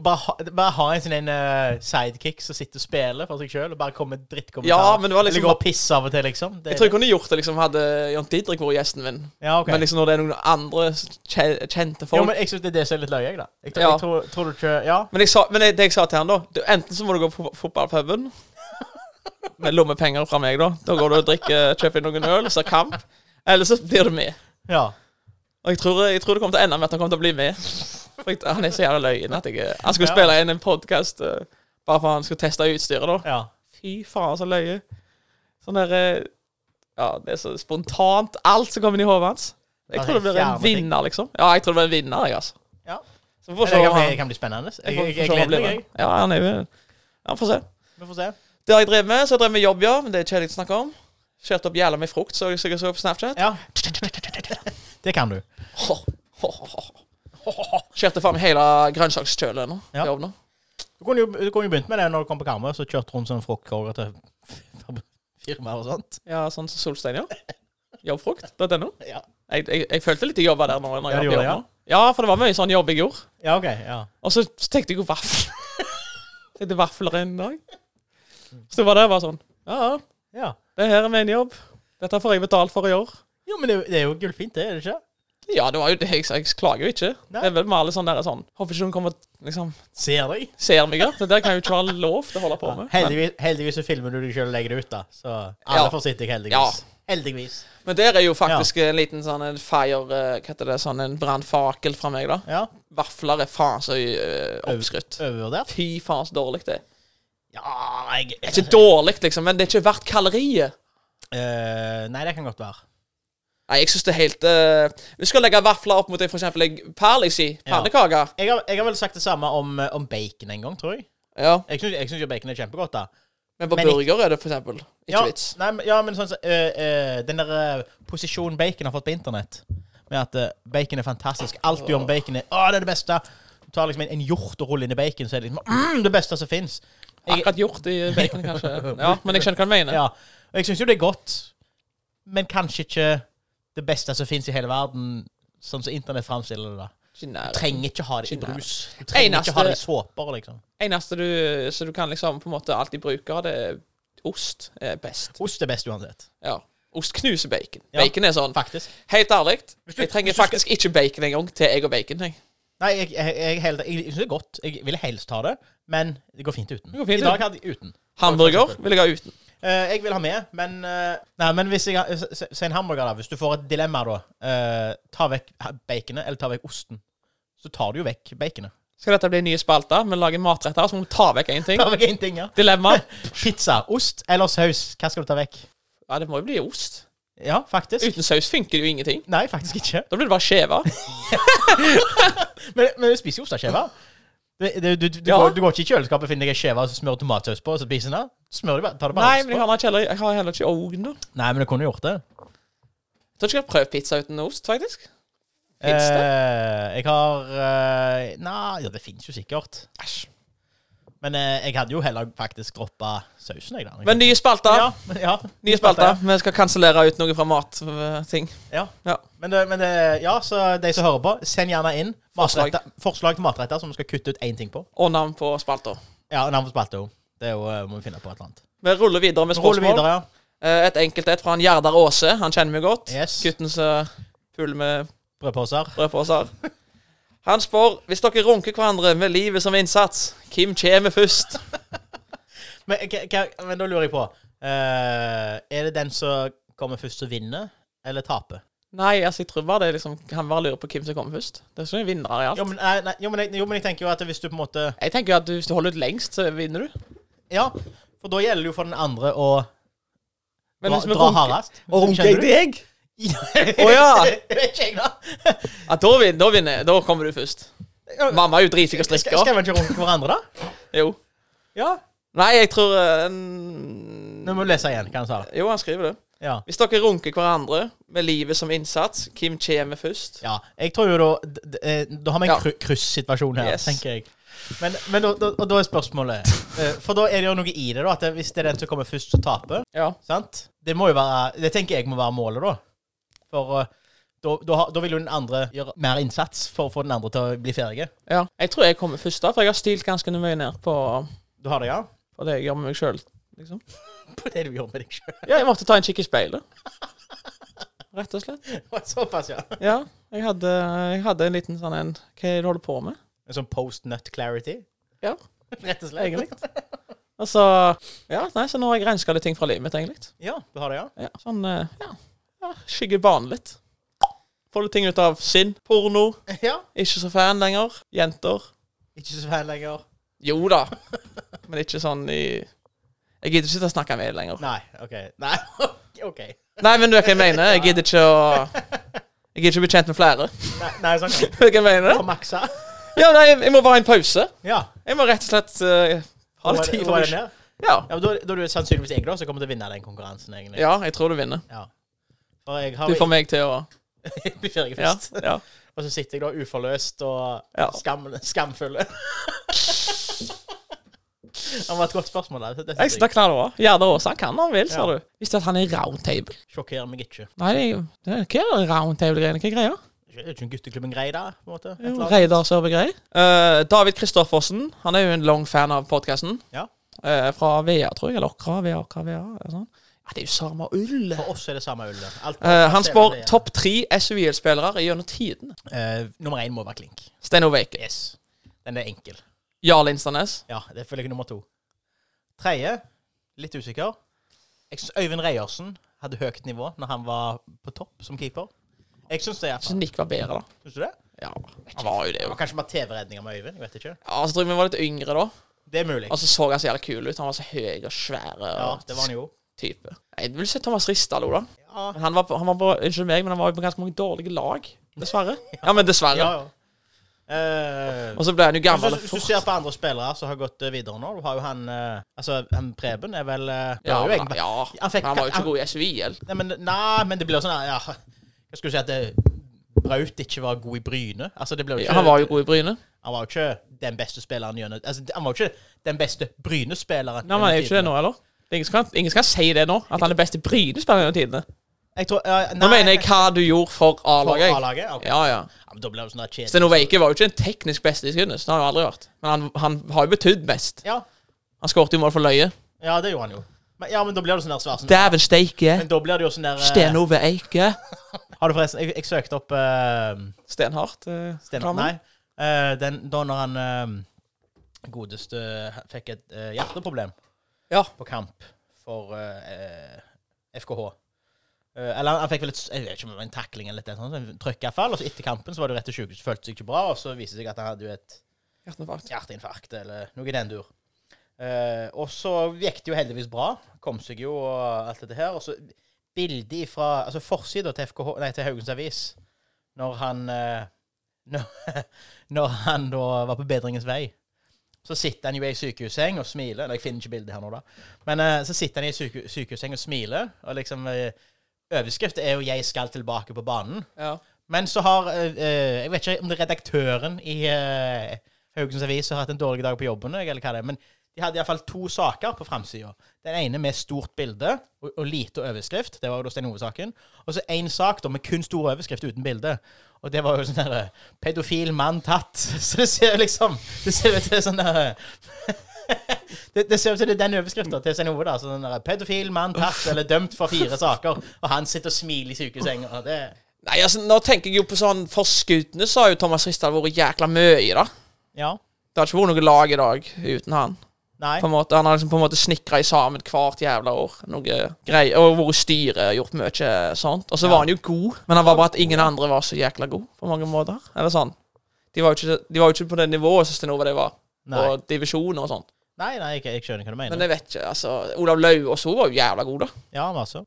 A: Å bare, ha, bare ha en sånn en eh, sidekick som sitter og spiller for seg sjøl, og bare kommer med drittkommentarer.
B: Ja, men det var liksom-
A: Eller går og pisser av og til, liksom. Det,
B: Jeg tror jeg kunne gjort det liksom hadde Jan Didrik vært gjesten min.
A: ja, ok.
B: Men liksom når det er noen andre kje- kjente folk
A: Jo, men jeg syns det er det som er litt løye, jeg, da. Jeg tror,
B: Ja.
A: jeg tror, tror du ikke Ja.
B: Men, jeg sa, men det, det jeg sa til han da du, Enten så må du gå på fo- fotballpuben med lommepenger fra meg, da. Da går du og drikker, kjøper noen øl, ser kamp. Eller så blir du med.
A: ja.
B: Og jeg tror, jeg tror det kommer til å ende med at han kommer til å bli med. For jeg, han er så jævla løyen at jeg Han skulle
A: Ja.
B: spille inn en podkast bare for han skulle teste utstyret, da.
A: ja.
B: Fy faen, så løye. Sånn der eh, Ja, det er så spontant. Alt som kommer inn i hodet hans. Jeg
A: Ja,
B: tror det
A: det er
B: blir en
A: jævla ting.
B: vinner, liksom. Ja, jeg tror det blir en vinner, jeg, altså.
A: Ja.
B: Så vi får
A: Det
B: se
A: kan
B: om
A: bli, det
B: han
A: kan bli spennende. Jeg,
B: får-
A: jeg,
B: får
A: jeg
B: se om han
A: gleder
B: blir
A: meg,
B: med.
A: jeg.
B: Ja, han er jo Ja, får se.
A: Vi får se.
B: Det har jeg drevet med. Så har jeg drevet med jobb, ja. Men det er kjedelig å snakke om. Kjørte opp jævla med frukt, så jeg sikkert så på Snapchat.
A: Ja. Det kan du.
B: Kjørte faen meg hele grønnsakskjølet nå.
A: Ja.
B: til Jobb nå.
A: Du kunne jo, du kunne jo begynt med det når du kom på Karmøy, så kjørte rundt sånne fruktkorger til firmaer og sånt.
B: Ja, sånn som Solstein, ja. Jobbfrukt.no.
A: Ja,
B: Jeg, jeg, jeg følte litt jeg jobba der nå. Når
A: Ja,
B: jeg
A: du
B: var på
A: gjorde
B: jobb nå. ja, for det var mye sånn jobb jeg gjorde.
A: ja OK. Ja.
B: Og så tenkte jeg jo vaffel. Tenkte vafler en dag. Så det var det bare sånn. Ja, ja.
A: ja.
B: Det her er min jobb. Dette får jeg betalt for i år.
A: Jo, men det, er jo- det er jo gullfint, det, er det ikke?
B: Ja, det var jo det. Jeg, jeg klager jo ikke.
A: Nei.
B: Det er vel med alle sånne der sånn Håper ikke noen kommer og liksom
A: Ser deg.
B: ser meg her. Det der kan jo ikke være lov til å holde på med. Men,
A: Heldigvis, heldigvis så filmer du deg sjøl og legger det ut, da. Så alle
B: Ja.
A: får sitt deg, heldigvis.
B: Ja.
A: Heldigvis.
B: men der er jo faktisk en liten sånn en fire eh, Hva heter det? Sånn en brannfakel fra meg, da.
A: Ja.
B: Vafler er faen så eh, oppskrytt.
A: Overvurdert?
B: Fy faen så dårlig det er.
A: Ja, jeg
B: Det er ikke dårlig, liksom, men det er ikke verdt kaloriet.
A: Eh, Nei, det kan godt være.
B: Nei, jeg syns det er helt eh, Vi skal legge vafler opp mot for eksempel jeg- perliksi.
A: Ja.
B: Pannekaker.
A: Jeg har, jeg har vel sagt det samme om, eh, om bacon en gang, tror jeg.
B: Ja.
A: Jeg syns jeg syns jo bacon er kjempegodt, da.
B: Men på
A: Men ikke-
B: burger er det for eksempel ikke
A: ja,
B: vits.
A: Nei, men- ja, men sånn som øh, øh, Den der øh, posisjonen bacon har fått på internett, med at øh, bacon er fantastisk Alt du gjør med bacon, er Å, det er det beste. Du tar liksom en, en hjort og ruller inn i bacon, så er det liksom mm, det beste som fins. Jeg-
B: akkurat gjort i bacon, kanskje. Ja, men jeg skjønner hva du mener.
A: Ja. Og jeg syns jo det er godt, men kanskje ikke det beste som fins i hele verden, sånn som internett framstiller det. da.
B: Ikke nær.
A: Du trenger ikke ha det i
B: Ikke nær.
A: brus. Du trenger
B: Eneste-
A: ikke ha det i såper, liksom.
B: Eneste du, så du kan liksom på en måte alltid bruke, det er ost er best.
A: Ost er best uansett.
B: Ja. Ost knuser bacon.
A: Ja.
B: Bacon er sånn.
A: Faktisk.
B: Helt ærlig,
A: Hvis du-
B: jeg trenger
A: hvis du skal-
B: faktisk ikke bacon engang til jeg og bacon. Jeg.
A: Nei, jeg, jeg, jeg, helt- jeg syns det er godt. Jeg ville helst ha det, men det går fint uten.
B: går fint
A: I dag hadde jeg uten.
B: Hamburger vil jeg ha uten.
A: Eh, jeg vil ha med, men eh, Nei, men hvis jeg har s- s- Si en hamburger, da. Hvis du får et dilemma, da. eh, ta vekk ha- baconet, eller ta vekk osten. Så tar du jo vekk baconet.
B: Skal dette bli nye spalter? Vi lager matretter, så må vi ta vekk én ting.
A: Ta vekk én ting, ja.
B: Dilemma.
A: Pizza, ost eller saus? Hva skal du ta vekk?
B: Ja, det må jo bli ost.
A: Ja, faktisk.
B: Uten saus funker det jo ingenting.
A: Nei, faktisk ikke.
B: Da blir det bare skjeva.
A: Men, men du spiser jo osteskjeve. Det- det- Du, du, du,
B: Ja.
A: går- du går ikke i kjøleskapet og finner deg en skjeve og smører tomatsaus på og så spiser den. Smør det bare, ta det bare
B: Nei,
A: ost
B: men jeg
A: på.
B: har ikke heller, jeg har heller ikke ovn. da. Jeg
A: Nei, men du kunne gjort det.
B: tror ikke jeg har prøvd pizza uten ost, faktisk. Finnes det?
A: Eh, jeg har eh, Nei, ja, det fins jo sikkert.
B: Æsj.
A: Men eh, jeg hadde jo heller faktisk droppa sausen. Jeg, da.
B: Men nye spalter.
A: ja, ja.
B: nye spalter. Vi skal kansellere ut noe fra eh, matting.
A: Ja.
B: Ja.
A: Men, det, men det, ja, så de som hører på, send gjerne inn
B: Forslag.
A: matretter- forslag til matretter som vi skal kutte ut én ting på.
B: Og navn på spalter.
A: Ja, navn på spalte òg. Det er jo, eh, må vi finne på et eller annet.
B: Vi ruller videre med
A: Rulle
B: spørsmål.
A: videre, ja.
B: Eh, Et enkelt et fra en Gjerdar Aase. Han kjenner meg godt.
A: Yes.
B: Gutten som puler med
A: Brødposer.
B: brødposer. Han spør hvis dere runker hverandre med livet som innsats, hvem kommer først?
A: Men, hva- hva- men da lurer jeg på eh, Er det den som kommer først som vinner, eller taper?
B: Nei, altså, jeg tror bare det er liksom Han bare lurer på hvem som kommer først. Det er sånn vinnere i alt.
A: Jo men, eh, nei, nei, jo, men jeg, jo, men jeg tenker jo at hvis du på en måte
B: Jeg tenker jo at du, hvis du holder ut lengst, så vinner du.
A: Ja, for da gjelder det jo for den andre å
B: Men
A: dra,
B: hvis vi
A: dra
B: runker
A: hardest.
B: Og runker jeg deg?
A: Å
B: Å ja.
A: Vet ikke jeg, da.
B: Ja, da, vin, da vinner jeg. Da kommer du først. Mamma er jo dritflink til
A: Skal,
B: å strikke.
A: skal vi ikke runke hverandre, da?
B: Jo.
A: Ja.
B: Nei, jeg tror eh, en-
A: Nå må du lese igjen hva han sa.
B: Jo, han skriver det.
A: Ja.
B: Hvis dere runker hverandre med livet som innsats, hvem kommer først?
A: Ja, jeg tror jo da d- d- eh, Da har vi en
B: Ja.
A: kry- kryssituasjon her,
B: Yes.
A: tenker jeg. Men, men da, da, og da er spørsmålet eh, For da er det jo noe i det, da. At det- hvis det er den som kommer først, som taper.
B: Ja.
A: Sant? Det må jo være Det tenker jeg må være målet, da. For eh, da, da, har- da vil jo den andre gjøre mer innsats for å få den andre til å bli ferdig.
B: ja. Jeg tror jeg kommer først, da, for jeg har stilt ganske mye ned på,
A: Du har det, ja?
B: på det jeg gjør med meg sjøl. Liksom.
A: På det du gjorde med deg sjøl.
B: Ja, jeg måtte ta en kikk i speilet. Rett og slett.
A: Såpass, ja.
B: Ja. Jeg hadde, jeg hadde en liten sånn en Hva er det du holder på med?
A: En sånn post nut clarity?
B: Ja.
A: Rett og slett.
B: Egentlig. Altså Ja, nei, så nå har jeg renska litt ting fra livet mitt, egentlig.
A: Ja, du har det, ja?
B: Ja, sånn eh, Ja. ja Skygger banen litt. Får litt ting ut av sinn. Porno.
A: Ja.
B: Ikke så fan lenger. Jenter.
A: Ikke så fan lenger.
B: Jo da, men ikke sånn i Jeg gidder ikke til å snakke med deg lenger.
A: Nei, OK. Nei, OK.
B: Nei, men du vet hva jeg mener. Jeg gidder ikke å Jeg gidder ikke å bli kjent med flere.
A: Nei, nei sånn kan jeg.
B: Vet du hva jeg mener?
A: Og maksa.
B: Ja, nei, jeg må bare ha en pause.
A: Ja.
B: Jeg må rett og slett eh, ha
A: Få
B: litt
A: det-
B: tid
A: få
B: for
A: det
B: meg.
A: ned.
B: Ja.
A: Ja, men da, da er det sannsynligvis jeg da som kommer til å vinne den konkurransen, egentlig.
B: ja, jeg tror du vinner.
A: Ja. For jeg har
B: Du får meg til å
A: blir ferdig
B: Ja.
A: først.
B: ja.
A: Og så sitter jeg da uforløst og
B: Ja.
A: skam, skamfull. det var et godt spørsmål. Der. Det
B: Jeg
A: synes jeg.
B: snakker det òg. Gjerdar Aase, han kan når han vil,
A: Ja.
B: sa du. Visste du at han er roundtable?
A: Sjokkerer meg ikke.
B: Nei, det er jo det er, Hva er det roundtable-greiene? Hva er greia?
A: Er det ikke en gutteklubben-greie der? på en måte? Et eller
B: Jo,
A: annet?
B: Reidar Sørbegreier. Uh, David Kristoffersen. Han er jo en lang fan av podkasten.
A: Ja.
B: Eh, fra VEA, tror jeg. Eller Åkra, VEA, Åkra, VEA. eller Sånn. Ja, det er jo samme ull.
A: For oss er det samme ullet. Alt-
B: Eh, han
A: alt er
B: spør
A: det.
B: topp tre SUIL-spillere gjennom tidene.
A: Eh, nummer én må være Klink.
B: Stein Oveke.
A: Yes. Den er enkel.
B: Jarl Instanes.
A: Ja, det føler jeg er nummer to. Tredje, litt usikker. Jeg syns Øyvind Reiersen hadde høyt nivå når han var på topp som keeper. Jeg syns det. i hvert
B: Så
A: fall.
B: Nick var bedre, da.
A: Syns du det?
B: Ja, han var jo det.
A: Det
B: jo.
A: var kanskje bare TV-redninger med Øyvind. jeg vet ikke.
B: Ja, så tror jeg vi var litt yngre da.
A: Det er mulig.
B: Og så så han så jævlig kul ut. Han var så høy og svær. Og
A: Ja, det var han jo.
B: type. Jeg vil se Thomas Ristalo, da.
A: Ja,
B: Men Han var, på, han var på, ikke meg, men han var jo på ganske mange dårlige lag. Dessverre. Ja, men dessverre.
A: ja. ja. Eh,
B: Og så ble Altså, han jo
A: hvis,
B: gammel.
A: du,
B: og
A: hvis du
B: fort.
A: ser på andre spillere som har gått eh, videre nå, du har jo han eh, Altså, han Preben er vel eh, det
B: Ja,
A: var jo
B: men,
A: egentlig-
B: ja.
A: Han fikk-
B: Men han var jo
A: han-
B: ikke god i SUIL.
A: Nei, men, nei, men det blir jo sånn ja, Hva skal du si at det, Braut ikke var god i Bryne? Altså, det blir jo
B: Ja,
A: ikke
B: han var jo god i Bryne.
A: Han var jo ikke den beste spilleren gjennom altså, Han var jo ikke den beste Bryne-spilleren.
B: Nei, men
A: gjennom
B: er jo ikke det nå,
A: tidene.
B: eller? Det er Ingen skal, ingen skal si det nå, at han er beste Bryne-spiller gjennom tidene.
A: Jeg tror, ja, nei,
B: Nå mener jeg hva du gjorde for
A: for
B: A-laget. jeg.
A: A-laget. ok.
B: Ja, ja.
A: Ja, men da blir det sånn der kjedelig.
B: Sten Oveike var jo ikke en teknisk beste i Skudenes. Det har han jo aldri vært. Men han, han har jo betydd mest.
A: Ja.
B: Han skåret jo mål for løye.
A: ja, det gjorde han jo. Men, ja, men da blir det sånn der Svarsen.
B: Dæven steike.
A: Men da blir det jo sånn der eh,
B: Sten Ove Eike.
A: Har du forresten Jeg, jeg søkte opp eh,
B: Stenhardt. eh,
A: Sten
B: Kramer.
A: Nei. eh, den, da når han eh, godeste fikk et eh, hjerteproblem
B: Ja.
A: på kamp for eh, eh, FKH. Eh, eller han fikk vel et, jeg vet ikke om det var en takling eller et sånt, så han trykk i hvert fall. Og så etter kampen så var det rett til sykehus, følte seg ikke bra, og så viste det seg at han hadde jo et
B: Hjerteinfarkt.
A: hjerteinfarkt eller noe i den dur. Eh, og så gikk det jo heldigvis bra. Kom seg jo og alt dette her. Og så bildet fra altså forsida til, FKH nei, til Haugens Avis når han eh, når, når han da var på bedringens vei. Så sitter han jo i ei sykehusseng og smiler. Nei, jeg finner ikke bildet her nå, da. Men eh, så sitter han i ei syke, sykehusseng og smiler, og liksom eh, Overskriften er jo 'Jeg skal tilbake på banen'.
B: Ja.
A: Men så har eh, eh, Jeg vet ikke om det er redaktøren i eh, Haugesunds Avis som har hatt en dårlig dag på jobben, jeg, eller hva det er. Men de hadde iallfall to saker på framsida. Den ene med stort bilde og, og lite overskrift. Det var jo da Stein Ove-saken. Og så én sak da med kun stor overskrift uten bilde. Og det var jo sånn der eh, 'Pedofil mann tatt'. Så det ser jo liksom Det ser ut til sånn der eh, det, det ser ut som det er den overskrifta til Stein Ove. da, så den der, 'Pedofil mann tatt eller dømt for fire saker'. Og han sitter og smiler i sykesenga. og Det
B: Nei, altså, nå tenker jeg jo på sånn For Skudenes så har jo Thomas Ristad vært jækla mye, da.
A: Ja.
B: Det har ikke vært noe lag i dag uten han.
A: Nei.
B: På en måte, han har liksom på en måte snikra sammen hvert jævla år. Noe greier, Og vært styre og gjort mye sånt. Og så var han jo god, men han var bare at ingen andre var så jækla god på mange måter. Eller sånn. De var jo ikke, de var jo ikke på det nivået som Sten Ove det var.
A: Nei.
B: Og divisjoner og sånn.
A: Nei, nei, jeg, jeg skjønner hva du mener.
B: Men jeg vet ikke, altså. Olav Lauvås også var jo jævla god, da.
A: ja, masse.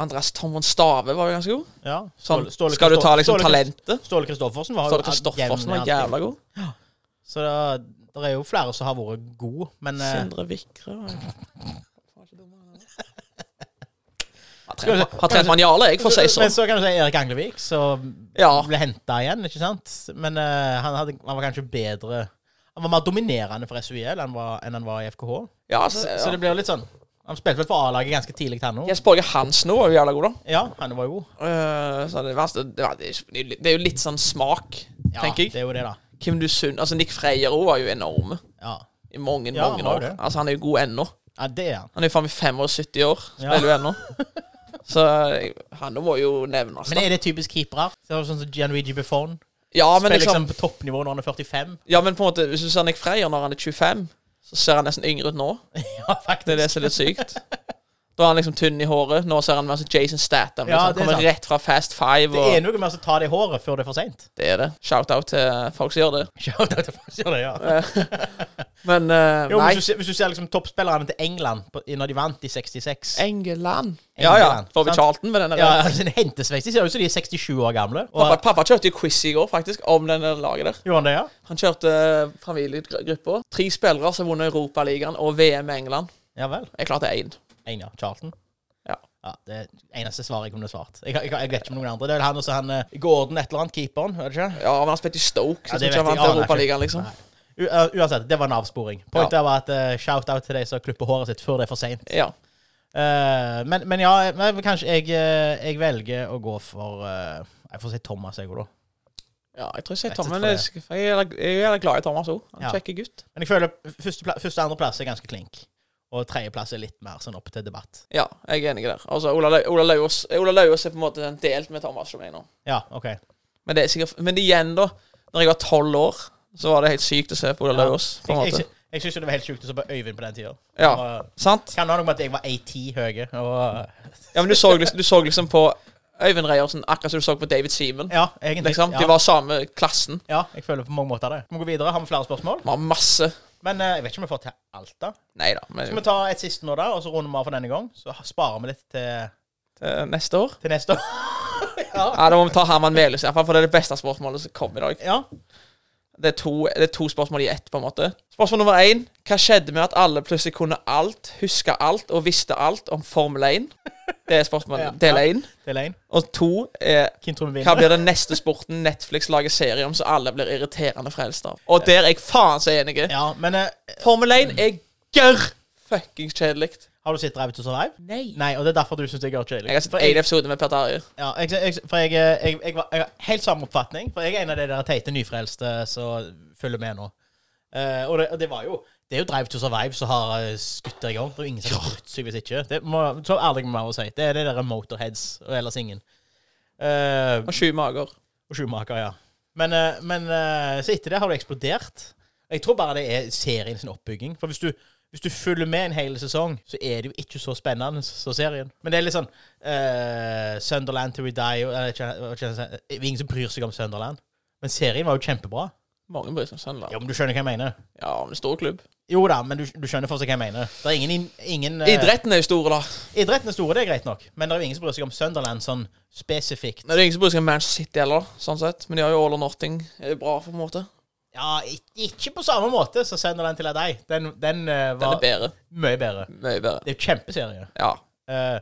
B: Andreas Tomren Stave var jo ganske god.
A: Ja.
B: Sånn,
A: Ståle- Ståle
B: skal du ta
A: Kristo-
B: liksom
A: Ståle Krist-
B: talentet?
A: Ståle Kristoffersen var jo
B: Så hadde Kristoffersen
A: jevn
B: var
A: alltid.
B: jævla god.
A: Så det, det er jo flere som har vært gode, men eh,
B: Sindre Vikre var- var ikke dum, han, da.
A: vi
B: Har
A: se-
B: trent- Har trent Manjale, jeg, for å si sånn.
A: Men så kan du si Erik Anglevik, som
B: Ja.
A: ble henta igjen, ikke sant? Men eh, han, hadde, han var kanskje bedre Han var mer dominerende for SUIL enn, var- enn han var i FKH.
B: ja, altså,
A: Så,
B: ja.
A: så det blir jo litt sånn Han spilte vel for A-laget ganske tidlig, han òg.
B: Jesper Borge Hansen nå var jo jævla god, da.
A: Ja, han var jo god.
B: Eh, så det, verste, det, var- det, er jo litt- det er jo litt sånn smak,
A: Ja,
B: tenker
A: Det
B: jeg.
A: er jo det, da.
B: Hvem du sunn, altså Nick Freyr også var jo enorme
A: Ja,
B: i mange
A: Ja,
B: mange
A: han var
B: år.
A: det.
B: Altså Han er jo god ennå.
A: ja det er han.
B: Han er jo faen meg 75 år, spiller jo ennå. Så jeg- han må jo nevnes.
A: Men
B: da.
A: er det typisk keepere? Så er det Sånn som Gianluigi Buffon?
B: Ja, men
A: Spiller liksom
B: liksom,
A: på toppnivå når han er 45?
B: ja, men på en måte hvis du ser Nick Freyr når han er 25, så ser han nesten yngre ut nå.
A: Ja, faktisk.
B: Det er det som er litt sykt. Da er han liksom tynn i håret. Nå ser han mer som Jason Statham.
A: Ja,
B: Liksom.
A: det er
B: Kommer
A: sant.
B: rett fra Fast Five.
A: Det
B: Og
A: er noe med å ta det i håret før det er for seint.
B: det er det. Shout-out til folk som gjør det.
A: Ja.
B: Men eh,
A: Jo, men
B: nei.
A: Hvis, du ser- hvis du ser liksom toppspillerne til England på, når de vant i 66
B: Engeland. Ja, ja.
A: Engeland,
B: Får vi
A: sant?
B: Charlton med denne?
A: ja, altså, det hentesveis. De ser ut som de er 67 år gamle.
B: Pappa,
A: Og,
B: pappa kjørte jo quiz i går, faktisk, om denne laget der.
A: gjorde han det, ja?
B: Han kjørte familiegruppa. Tre spillere som har vunnet Europaligaen og VM med England.
A: Ja vel.
B: Jeg klarte én.
A: En, ja. Charlton.
B: Ja.
A: Det er eneste svaret jeg kunne svart. Jeg, jeg, jeg vet ikke om noen andre. Det er vel han og så han eh, Gordon et eller annet, keeperen. Er det ikke?
B: Ja, men han spilte i Stoke,
A: Ja,
B: så
A: det
B: jeg tror ikke han
A: vet jeg.
B: vant
A: Ja,
B: Europaligaen,
A: nei,
B: liksom.
A: nei. U uh, uansett, det var en avsporing. Pointet var at eh, shout-out til de som klipper håret sitt før det er for seint.
B: Ja.
A: Eh, men, men ja, men kanskje jeg, eh, jeg velger å gå for eh, Jeg får si Thomas, jeg òg, da.
B: ja, jeg tror jeg sier
A: Rett og slett
B: Tommen.
A: for
B: Jeg er- jeg er jeg er jævla glad i Thomas òg. Han
A: Ja.
B: er en kjekk gutt.
A: Men jeg føler første, pla- første og andreplass er ganske klink. Og tredjeplass er litt mer sånn opp til debatt.
B: Ja, jeg er enig der. Altså, Ola Lau- Ola Lauvås Ola Lauvås er på en måte den delt med Thomas som jeg nå.
A: Ja, OK.
B: Men det er sikkert Men igjen, da. Når jeg var tolv år, så var det helt sykt å se på Ola Lauvås. på en
A: Jeg, jeg,
B: måte.
A: sy- jeg syns jo det var helt sjukt å se på Øyvind på den tida.
B: Ja, sant?
A: Kan ha noe med at jeg var AT høye, og eh,
B: Ja, men du så, liksom- du så liksom på Øyvind Reiersen akkurat som du så på David Seaman.
A: Ja, egentlig.
B: Liksom.
A: ja.
B: De var samme klassen.
A: ja, jeg føler på mange måter det. Vi må gå videre. Har vi flere spørsmål?
B: Vi har masse
A: Men eh, jeg vet ikke om vi får til alt, da.
B: Nei da,
A: Skal
B: men
A: vi ta et siste nå, da, og så runder vi av for denne gang? Så sparer vi litt til,
B: eh, neste år
A: til neste år.
B: Ja, Da må vi ta Herman Melhus, i hvert fall, for det er det beste spørsmålet som kom i dag.
A: Ja.
B: Det er to, det er to spørsmål i ett, på en måte. Spørsmål nummer én. Hva skjedde med at alle plutselig kunne alt, huske alt og visste alt om Formel 1? Det er spørsmål
A: Ja.
B: del én.
A: Del én.
B: Og to er
A: Hvem tror vi vinner?
B: hva blir den neste sporten Netflix lager serie om som alle blir irriterende frelst av? Og der er jeg faen så enig.
A: Ja, men eh,
B: Formel 1 er gørr fuckings kjedelig.
A: har du sett Drive to Survive?
B: Nei.
A: Nei, og det er derfor du syns jeg er kjedelig.
B: Jeg har sett
A: For
B: én episode med Per Terje.
A: Ja, jeg, jeg, for jeg, eh, jeg, jeg, var- jeg har helt samme oppfatning. For jeg er en av de der teite nyfrelste som følger med nå. Eh, og, det, og det var jo Det er jo Drive to Survive som har eh, skutt det i gang. Det er jo ingen som har brutt seg hvis ikke. Det må, så ærlig må jeg være å si. Det er de der Motorheads og ellers ingen. Eh,
B: Og sju mager.
A: og Schumacher, ja. Men, eh, men eh, så etter det har det eksplodert. Jeg tror bare det er serien sin oppbygging. For hvis du, hvis du følger med en hel sesong, så er det jo ikke så spennende som serien. Men det er litt sånn eh, Sunderland til we die og, eller ikke- hva skal jeg si, Ingen som bryr seg om Sunderland. Men serien var jo kjempebra.
B: Mange bryr seg om Sunderland.
A: Ja, men Du skjønner hva jeg mener?
B: Ja, men stor klubb.
A: Jo da, men du, du skjønner fortsatt hva jeg mener. Det er ingen, in- ingen eh,
B: Idretten er jo stor, da.
A: Idretten er store, det er greit nok. Men det er jo ingen som bryr seg om Sunderland sånn spesifikt.
B: Nei, Det er ingen som bryr seg om Manchester City heller, sånn sett. Men de har jo All or Nothing. Er det bra, på en måte?
A: Ja, ik- ikke på samme måte som Sunderland til deg. Den, den eh,
B: Den
A: var
B: er bedre.
A: Mye bedre.
B: Mye bedre.
A: Det er jo kjempeserie.
B: Ja.
A: Eh,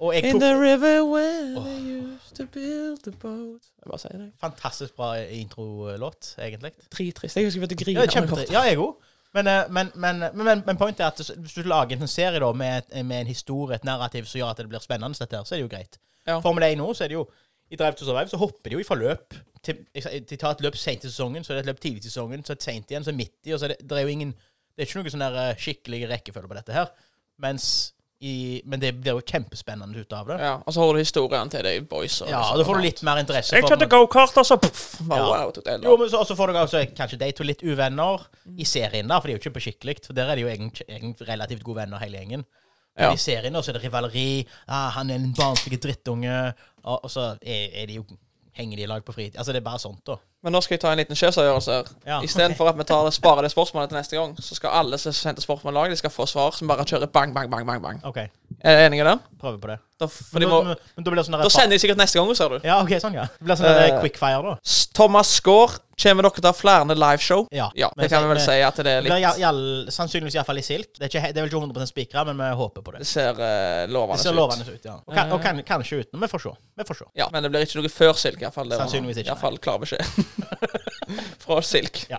A: og jeg
B: In
A: tok
B: the river where they used to build the boat Jeg bare sier det.
A: fantastisk bra introlåt, egentlig.
B: Drittrist. Jeg husker vi begynte å
A: Ja,
B: grine.
A: kjempe, ja jeg òg. Men, eh, men, men, men, men, men pointet er at hvis du lager en sånn serie da, med, et- med en historie, et narrativ, som gjør at det blir spennende, dette, her, så er det jo greit.
B: Ja.
A: Formel 1 nå, så er det jo I Drive to Survive så hopper de jo fra løp til jeg sa- De tar et løp sent i sesongen, så er det et løp tidlig i sesongen, så et sent igjen, så midt i, og så er det, det er jo ingen Det er ikke noe sånn der eh, skikkelig rekkefølge på dette her. Mens i, men det blir jo kjempespennende ut av det.
B: Ja, og så har du historien til deg, boys.
A: Ja, og da får du litt mer interesse. for-
B: gokart, altså. og så poff. Bare,
A: Ja.
B: wow, tok det
A: Jo,
B: enda.
A: men så også får du også kanskje de to litt uvenner i serien, der, for de er jo ikke på skikkelig. For der er de jo egentlig, egentlig relativt gode venner, hele gjengen. Men
B: Ja.
A: i serien da, så er det rivaleri. Ah, 'Han er en barnslig drittunge.' Og, og så er, er de jo henger de i lag på fritid. Altså, det er bare sånt, da.
B: Men nå skal jeg ta en liten sjøsavgjørelse her.
A: Ja.
B: Istedenfor at vi tar, sparer det spørsmålet til neste gang, så skal alle som sendte spørsmål lag, de skal få svar som bare kjører bang, bang, bang. bang, bang.
A: OK,
B: Er dere enige i det?
A: prøver på det.
B: Da, for
A: Men,
B: de
A: da,
B: må,
A: men, men da blir det sånn der-
B: da sender de sikkert neste gang, ser du.
A: Ja, OK, sånn, ja. Det blir sånn der
B: Eh.
A: quickfire, da.
B: S- Thomas Skaar, kommer dere til å ha flere liveshow?
A: Ja.
B: det kan vi vel
A: Men-
B: si at det er
A: Det blir
B: litt
A: i all- sannsynligvis iallfall i silk. Det er, ikke, he- det er vel ikke 100 spikra, men vi håper på det.
B: Det ser eh,
A: Det
B: lovende
A: ser lovende ut, ja. Og, kan, og
B: Eh.
A: kan, kanskje uten. Vi får se. Vi får se.
B: Ja, men det blir ikke noe før Silk, iallfall.
A: Sannsynligvis ikke, nei.
B: Iallfall klar beskjed. Fra Silk.
A: Ja.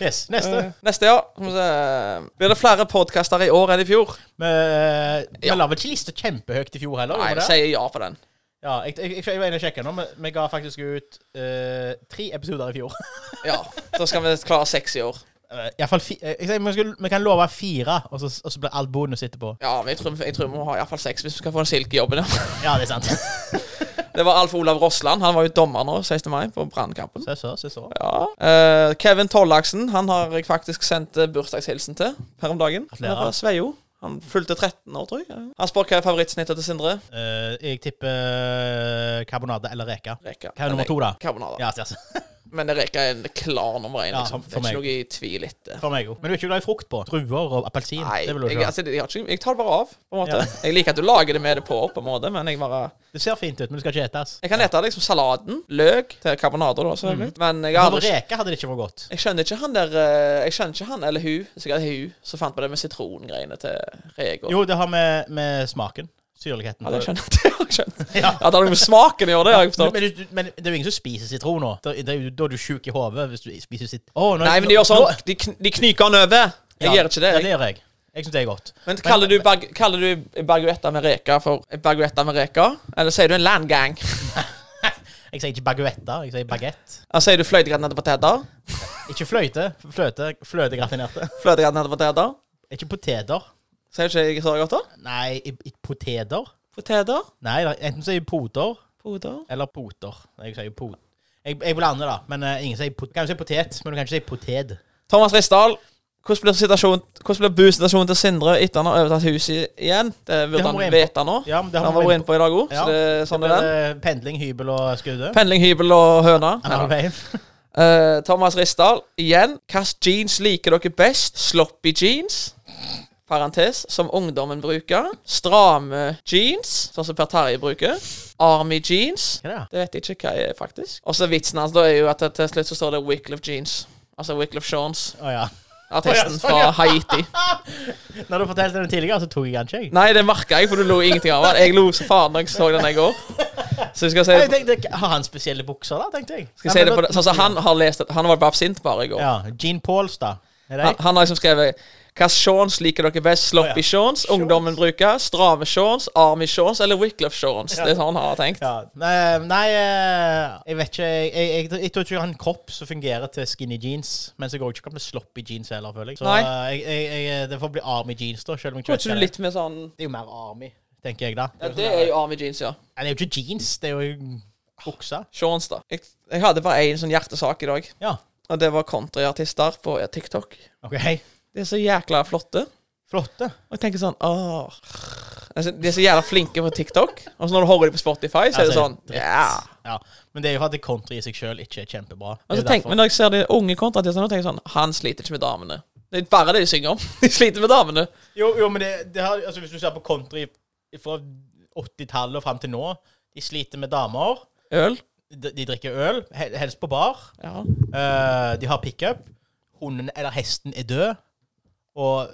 A: yes, neste.
B: Eh, Neste, ja. Skal vi se. Blir det flere podkaster i år enn i fjor?
A: Vi, vi
B: Ja.
A: eh, la vel ikke lista kjempehøyt i fjor heller? gjorde vi
B: Nei, jeg
A: det?
B: sier ja på den.
A: Ja, jeg, jeg, jeg, jeg var inne og sjekket nå. men Vi ga faktisk ut eh, tre episoder i fjor.
B: Ja, Da skal vi klare seks i år.
A: Eh, i hvert fall fi, eh, jeg, sier, vi, skal, vi kan love fire, og så, og så blir alt bonus etterpå.
B: Ja, men jeg tror, jeg tror vi må ha iallfall seks hvis vi skal få en Silk i jobben. Ja.
A: Ja, det er sant.
B: Det var Alf Olav Rossland. Han var jo dommer nå 16. mai på Brannkampen.
A: Se så, se så.
B: Ja. Eh, Kevin Tollaksen han har jeg faktisk sendt eh, bursdagshilsen til her om dagen. Han
A: Gratulerer.
B: er fra Sveio. Han fylte 13 år, tror jeg. Han spør hva er favorittsnittet til Sindre.
A: Eh, jeg tipper eh, karbonade eller reka.
B: Reka.
A: Hva er nummer to, da?
B: Carbonara.
A: Ja, yes,
B: Men Reka er en klar nummer én.
A: Ja,
B: Liksom. det
A: for
B: er
A: meg.
B: ikke noe i tvil etter.
A: For meg òg. Men du er ikke glad i frukt på? Druer og appelsin?
B: Nei,
A: Det,
B: jeg,
A: vil du ikke ha.
B: altså, jeg, har ikke, jeg tar det bare av. på en måte.
A: Ja.
B: Jeg liker at du lager det med det på, på en måte, men jeg bare...
A: det ser fint ut, men det skal ikke etes.
B: Jeg kan ete liksom salaten, løk til karbonader, da, selvfølgelig.
A: Mhm.
B: Men jeg, har
A: Hadde
B: aldri,
A: reka hadde det ikke vært godt.
B: jeg skjønner ikke han der eh, Jeg skjønner ikke han eller hun, sikkert hun, som fant på det med sitrongreiene til Rego.
A: Jo, det har med, med smaken. Syrligheten.
B: Ja, det skjønner jeg. Det har jeg skjønt.
A: Ja.
B: At det har noe med smaken å gjøre, det har
A: Men,
B: jeg forstått.
A: men, du- men det er jo ingen som spiser sitron nå. Da, det er jo, da er du sjuk i hodet hvis du spiser sit... Å, nå-
B: Nei, men de gjør sånn.
A: nå-
B: De, kn de knyker han over. Jeg
A: Ja,
B: gjør ikke det.
A: Ja,
B: Jeg.
A: det gjør jeg. Jeg syns det er godt.
B: Men kaller du, bag kaller du baguetta med reker for baguetta med reker? Eller sier du en landgang?
A: Jeg sier ikke baguetter, jeg sier bagett.
B: Eller sier du fløtegratinerte poteter?
A: Ikke fløyte. Fløte, fløtegratinerte.
B: Fløtegratinerte poteter?
A: Ikke poteter.
B: Sier du ikke jeg så godt, da?
A: Nei, i- i- poteter?
B: Poteter?
A: Nei, da, enten sier jeg poter
B: Poter?
A: eller poter. Jeg sier pot... Jeg, jeg blander, da. Men eh, ingen sier pot... Kan du si potet, men du kan ikke si potet.
B: Thomas Ristdal, hvordan blir, situasjonen- hvordan blir busituasjonen til Sindre etter han har overtatt huset igjen? Det
A: Det
B: burde
A: har
B: han
A: vi vært
B: vite nå.
A: Ja, men det
B: Han
A: har
B: var
A: vi
B: vært inne på i dag
A: Ja,
B: òg, så det er sånn det er den.
A: Eh, Pendling, hybel og skude.
B: Pendling, hybel og høna.
A: Ja.
B: Ja. Eh, Thomas Ristdal, igjen. Hvilke jeans liker dere best? Sloppy jeans? Parentes, som ungdommen bruker. Stramme jeans, sånn som Per Terje bruker. Army jeans.
A: Hva er det?
B: Det vet jeg ikke hva jeg er, faktisk. Og så vitsen hans da er jo at til slutt så står det Wycliffe jeans. Altså Wyclef Shawns,
A: Å ja.
B: artisten
A: Å ja,
B: fra Haiti.
A: Når du fortalte den tidligere, så tok jeg den ikke, jeg.
B: Nei, det merka jeg, for du lo ingenting av den. Jeg lo så faen da jeg så den i går. Så jeg skal si,
A: Jeg tenkte, har han spesielle bukser, da? tenkte jeg.
B: skal jeg si det på det. Sånn som han har lest at Han var på absint bare i går.
A: Ja. Gene Paulstad. Er det
B: Han, han har liksom skrevet hva shorts liker dere
A: Å,
B: best? Sloppy
A: ja.
B: shorts, ungdommen bruker, stramme shorts, army shorts eller Wyclef shorts? Det er sånn han har tenkt.
A: Ja. Nei, nei, eh, jeg vet ikke. Jeg, jeg, jeg, jeg tror ikke jeg har en kropp som fungerer til skinny jeans. Mens jeg går ikke opp med sloppy jeans heller, føler jeg. Så
B: Nei.
A: eh, jeg, jeg, jeg, det får bli army jeans, da. Selv om jeg
B: Tror
A: ikke
B: ikke
A: vet
B: du
A: hva det er.
B: litt mer sånn
A: Det er jo mer army, tenker jeg da.
B: Ja, det er jo army jeans, ja.
A: Nei, det er jo ikke jeans, det er jo buksa.
B: Shorts, da. Jeg, jeg hadde bare én sånn hjertesak i dag,
A: Ja.
B: og det var countryartister på TikTok.
A: OK.
B: De er så jækla flotte.
A: Flotte.
B: Og jeg tenker sånn åh. altså, De er så jævla flinke på TikTok, og så når du hører dem på Spotify, så er det
A: Altså,
B: sånn
A: dritt.
B: ja.
A: Ja. Men det er jo fordi country i seg sjøl ikke er kjempebra. Det
B: Og så
A: er
B: Altså, tenk,
A: derfor.
B: men Når jeg ser de unge kontraartistene, tenker jeg sånn Han sliter ikke med damene. Det er bare det de synger om. De sliter med damene.
A: Jo, jo, men det, det har, altså, hvis du ser på country fra 80-tallet og fram til nå De sliter med damer.
B: Øl.
A: De, de drikker øl, hel- helst på bar.
B: Ja.
A: Eh, de har pickup. Hunden eller hesten er død. Og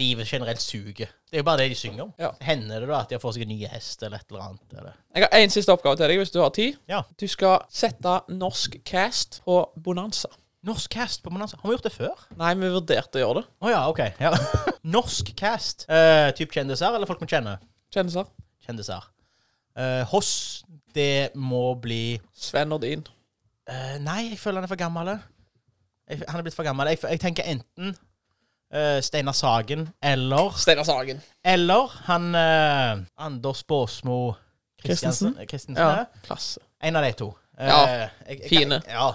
A: livet generelt suger. Det er jo bare det de synger om.
B: Ja.
A: Hender det da at de har fått seg en ny hest eller et eller annet? Eller?
B: Jeg har én siste oppgave til deg, hvis du har tid.
A: Ja.
B: Du skal sette norsk cast på Bonanza.
A: Norsk cast på Bonanza. Har vi gjort det før? Å
B: Nei, vi vurderte å gjøre det.
A: ja, OK. Ja. Norsk cast. Uh, typ kjendiser eller folk vi kjenner?
B: Kjendiser.
A: Kjendiser. Eh, Hoss, det må bli
B: Sven Nordin.
A: Eh, Nei, jeg føler han er for gammel. Jeg, han er blitt for gammel. Jeg, jeg tenker enten eh, Steinar Sagen eller
B: Steinar Sagen.
A: Eller han eh, Anders Båsmo Christiansen. Christensen
B: Ja.
A: ja.
B: Klasse.
A: En av de to. Eh,
B: Ja,
A: jeg- jeg-
B: fine.
A: Ja.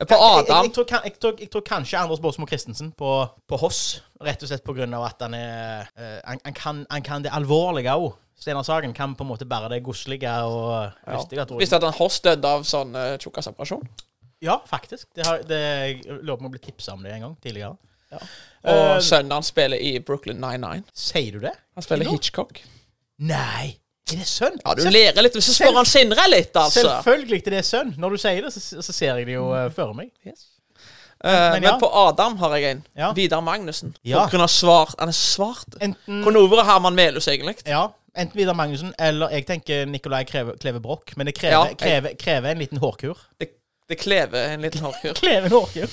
B: Eh, På
A: Jeg, jeg,
B: Adam.
A: jeg, tror, kan- jeg, tror, jeg tror kanskje Anders Båsmo Christensen på, på Hoss, rett og slett på grunn av at han er eh, han, han, kan, han kan det alvorlige òg. Steinar Sagen kan på en måte bare det godslige og
B: Ja.
A: lystige. tror jeg.
B: Visste at han Hoss døde av sånn uh, tjukkasoperasjon.
A: Ja, faktisk. Det har, det, jeg lurer på om jeg ble tipsa om det en gang tidligere.
B: Og
A: Eh,
B: sønnen hans spiller i Brooklyn 99.
A: Sier du det?
B: Han spiller
A: Kino?
B: Hitchcock.
A: Nei! Er det sønn?
B: Ja, du
A: Selv-
B: ler litt hvis du
A: selv-
B: spør han Sindre litt, altså. Mm.
A: Selvfølgelig det er sønn. Når du sier det, så, så ser jeg det jo eh, for meg.
B: Yes. Eh,
A: Men
B: men,
A: ja.
B: på Adam har jeg en.
A: Ja.
B: Vidar Magnussen.
A: Ja.
B: På grunn av svart. Han er svart.
A: Enten
B: Kunne også vært Herman Melhus, egentlig.
A: Ja, enten Vidar Magnussen eller jeg tenker Nicolai Kreve, Kleve Broch. Men det
B: Ja,
A: krever,
B: jeg-
A: krever, krever en liten hårkur.
B: Det, det klever en liten hårkur.
A: Kleve en hårkur.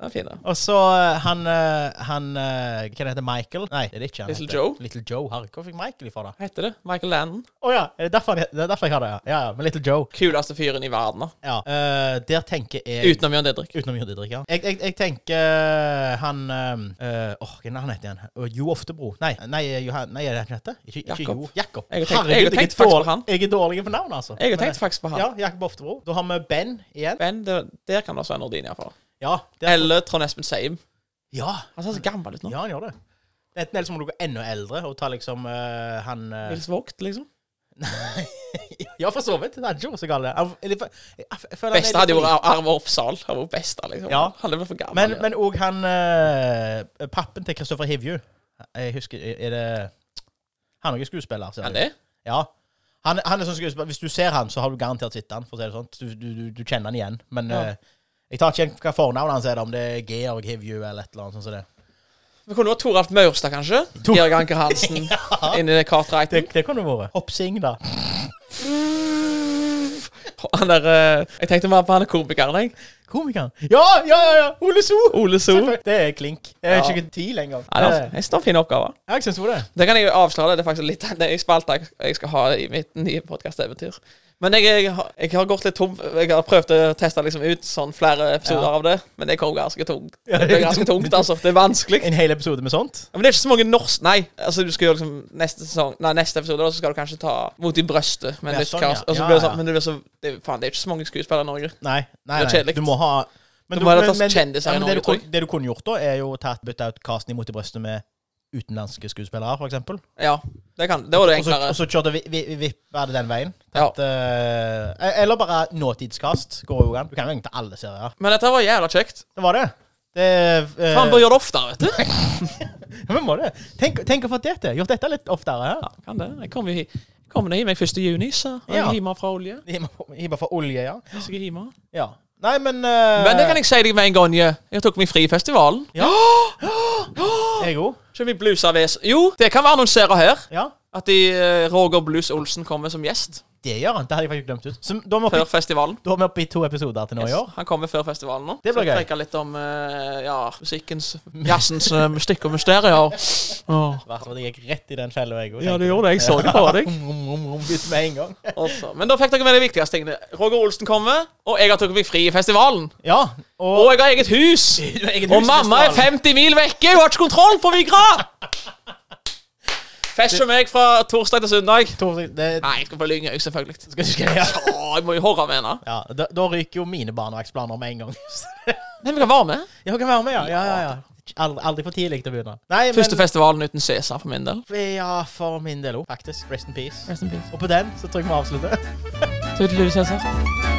B: Den er fin, da.
A: Og så eh, han, eh, han eh, Hva heter han? Michael? Nei, det er det ikke. han
B: Little
A: heter.
B: Joe?
A: Little Joe. Herre, hvor fikk Michael ifra, da?
B: Hva heter det? Michael Landon.
A: Å ja, er det derfor, han het- det er derfor jeg har det? Ja, ja, ja men Little Joe.
B: Kuleste fyren i verden. da.
A: Ja. eh, der tenker jeg
B: Utenom Jørn Didrik.
A: Utenom Jørn Didrik, ja. Jeg, jeg, jeg tenker han eh, eh, Åh, hva er det han heter igjen? Å, jo Oftebro. Nei, nei, eh, Johan, nei er det han heter? Ikke, ikke
B: Jakob.
A: Jo. Jakob.
B: Jeg har tenkt- jeg har
A: er
B: tenkt faktisk på
A: dårlig-
B: han.
A: Jeg er dårlig på navn, altså.
B: Jeg
A: Men-
B: har tenkt faktisk på han.
A: Ja, Jakob Oftebro. Da har vi Ben igjen.
B: Men det, der kan det være Svein Nordin, iallfall.
A: Ja, det er-
B: Eller Trond Espen Seim.
A: ja,
B: Han ser så gammel ut nå.
A: ja, han gjør det. Enten eller så må du gå enda eldre og ta liksom eh, han eh,
B: Nils Vogt, liksom.
A: Ja, for så vidt. Det er ikke så galt. Han- eller for- jeg- jeg føler han er
B: Beste hadde
A: litt-
B: jo vært Arve Oppsal. Han var best, liksom.
A: Ja.
B: Han er vel for gammel.
A: Men,
B: ja.
A: men òg han eh, Pappen til Kristoffer Hivju. Jeg husker Er det Han er jo skuespiller. altså. ser
B: Er
A: jeg.
B: det?
A: Ja. Han, han er sånn skuespiller. Hvis du ser han, så har du garantert sett han, for å si det sånn. Du, du, du, du kjenner han igjen. Men
B: Ja.
A: eh, jeg tar ikke igjen hva fornavnet hans er, da, om det er Georg Hivju eller et eller annet sånt som det.
B: Vi kunne vært Toralf Maurstad, kanskje. Georg Anker Hansen. Inni det
A: Det,
B: kartreiten.
A: det kunne det vært. Hoppsing, da.
B: Han der eh, Jeg tenkte mer på han komikeren, jeg.
A: Komikeren. Ja, ja, ja! ja. Ole So!
B: Ole So.
A: Selvfølgelig. Det er klink. Det er
B: Ja.
A: ikke tvil engang.
B: Nei, det
A: Det-
B: er- det er en fin oppgave.
A: Ja, jeg syns jo det.
B: Det kan jeg jo avsløre. Det er faktisk litt det er en spalte jeg- jeg skal ha i mitt nye podkasteventyr. Men jeg, jeg, har- jeg har gått litt tom. Jeg har prøvd å teste liksom ut sånn flere episoder
A: Ja.
B: av det, men det kom ganske tungt.
A: Ja,
B: Det
A: det
B: er
A: er
B: ganske
A: tungt.
B: tungt, altså. Det er vanskelig.
A: En hel episode med sånt.
B: Men det er ikke så mange norsk... Nei, altså du skal gjøre liksom neste sesong Nei, neste episode, da så skal du kanskje ta Mot i brøstet. Men,
A: Ja,
B: det, er
A: sånn,
B: ikke-
A: ja.
B: og så
A: Ja,
B: blir det
A: ja.
B: sånn, men det blir så det, er- Faen, det er ikke så mange skuespillere i Norge.
A: Nei, nei,
B: Det er
A: nei.
B: kjedelig.
A: du må ha men
B: Du må heller ta kjendiser i
A: men
B: Norge,
A: det, du,
B: tror
A: kun- det du kunne gjort da, er jo tatt bytta ut casten imot i brøstet med utenlandske skuespillere, for eksempel.
B: Ja, det kan Det var det
A: Og så-
B: enklere.
A: Og så kjørte vi, vi, vi vippa det den veien.
B: Ja.
A: At, eh, eller bare nåtidskast går jo an. Du kan jo egentlig ta alle serier.
B: Men dette var jævla kjekt.
A: Det var det. Det eh,
B: Faen, bør gjøre det oftere, vet du.
A: ja, vi må det. Tenk, tenk å få det til. Gjort dette litt oftere. Ja.
B: Kan det. Jeg kom jo hit. Kommer ned i meg 1. juni, så er
A: Ja.
B: jeg hjemme fra olje.
A: Hiver for olje, ja.
B: Så jeg er hjemme.
A: ja. Nei, men eh,
B: Men det kan jeg si deg med en gang. ja. Jeg tok meg fri i festivalen.
A: Jeg òg.
B: Så vi blusa ved Jo, det kan vi annonsere her.
A: Ja.
B: At de, eh, Roger Blues Olsen kommer som gjest
A: Det gjør han. Det hadde jeg faktisk glemt ut. Så da er vi oppe
B: før
A: i-
B: festivalen.
A: da er vi oppe i to episoder til nå i
B: Yes,
A: år.
B: Han kommer før festivalen nå.
A: Det blir
B: Så jeg
A: gøy.
B: preker litt om eh, ja, musikkens, jazzens eh, mystikk og mysterier. Åh.
A: Hvert fall jeg gikk rett i den fella, jeg òg.
B: Ja, det gjorde det. Jeg så det på deg.
A: med en gang.
B: Altså. Men da fikk dere med de viktigste tingene. Roger Olsen kommer, og jeg har tatt meg fri i festivalen.
A: Ja.
B: Og
A: Og,
B: jeg har eget hus!
A: egen
B: Og mamma er
A: husfestival.
B: 50 mil vekke! Hun har ikke kontroll på Vigra! Fetcher meg fra torsdag til søndag.
A: Tor, det-
B: Nei, jeg skal få lynge, jeg, selvfølgelig.
A: Skal du skal ja.
B: Åh, jeg må jo horre med henne.
A: ja da, da ryker jo mine barneverksplaner med en gang.
B: Men vi kan være med.
A: Jeg kan være med, ja. ja, ja, ja. Aldri, aldri for tidlig til å begynne. Nei,
B: Første festivalen uten Cæsar for min del.
A: men Ja, for min del òg, faktisk. Rest in peace.
B: Rest in peace.
A: Og på den så tror jeg vi avslutter.
B: Tudeludu, Cæsar.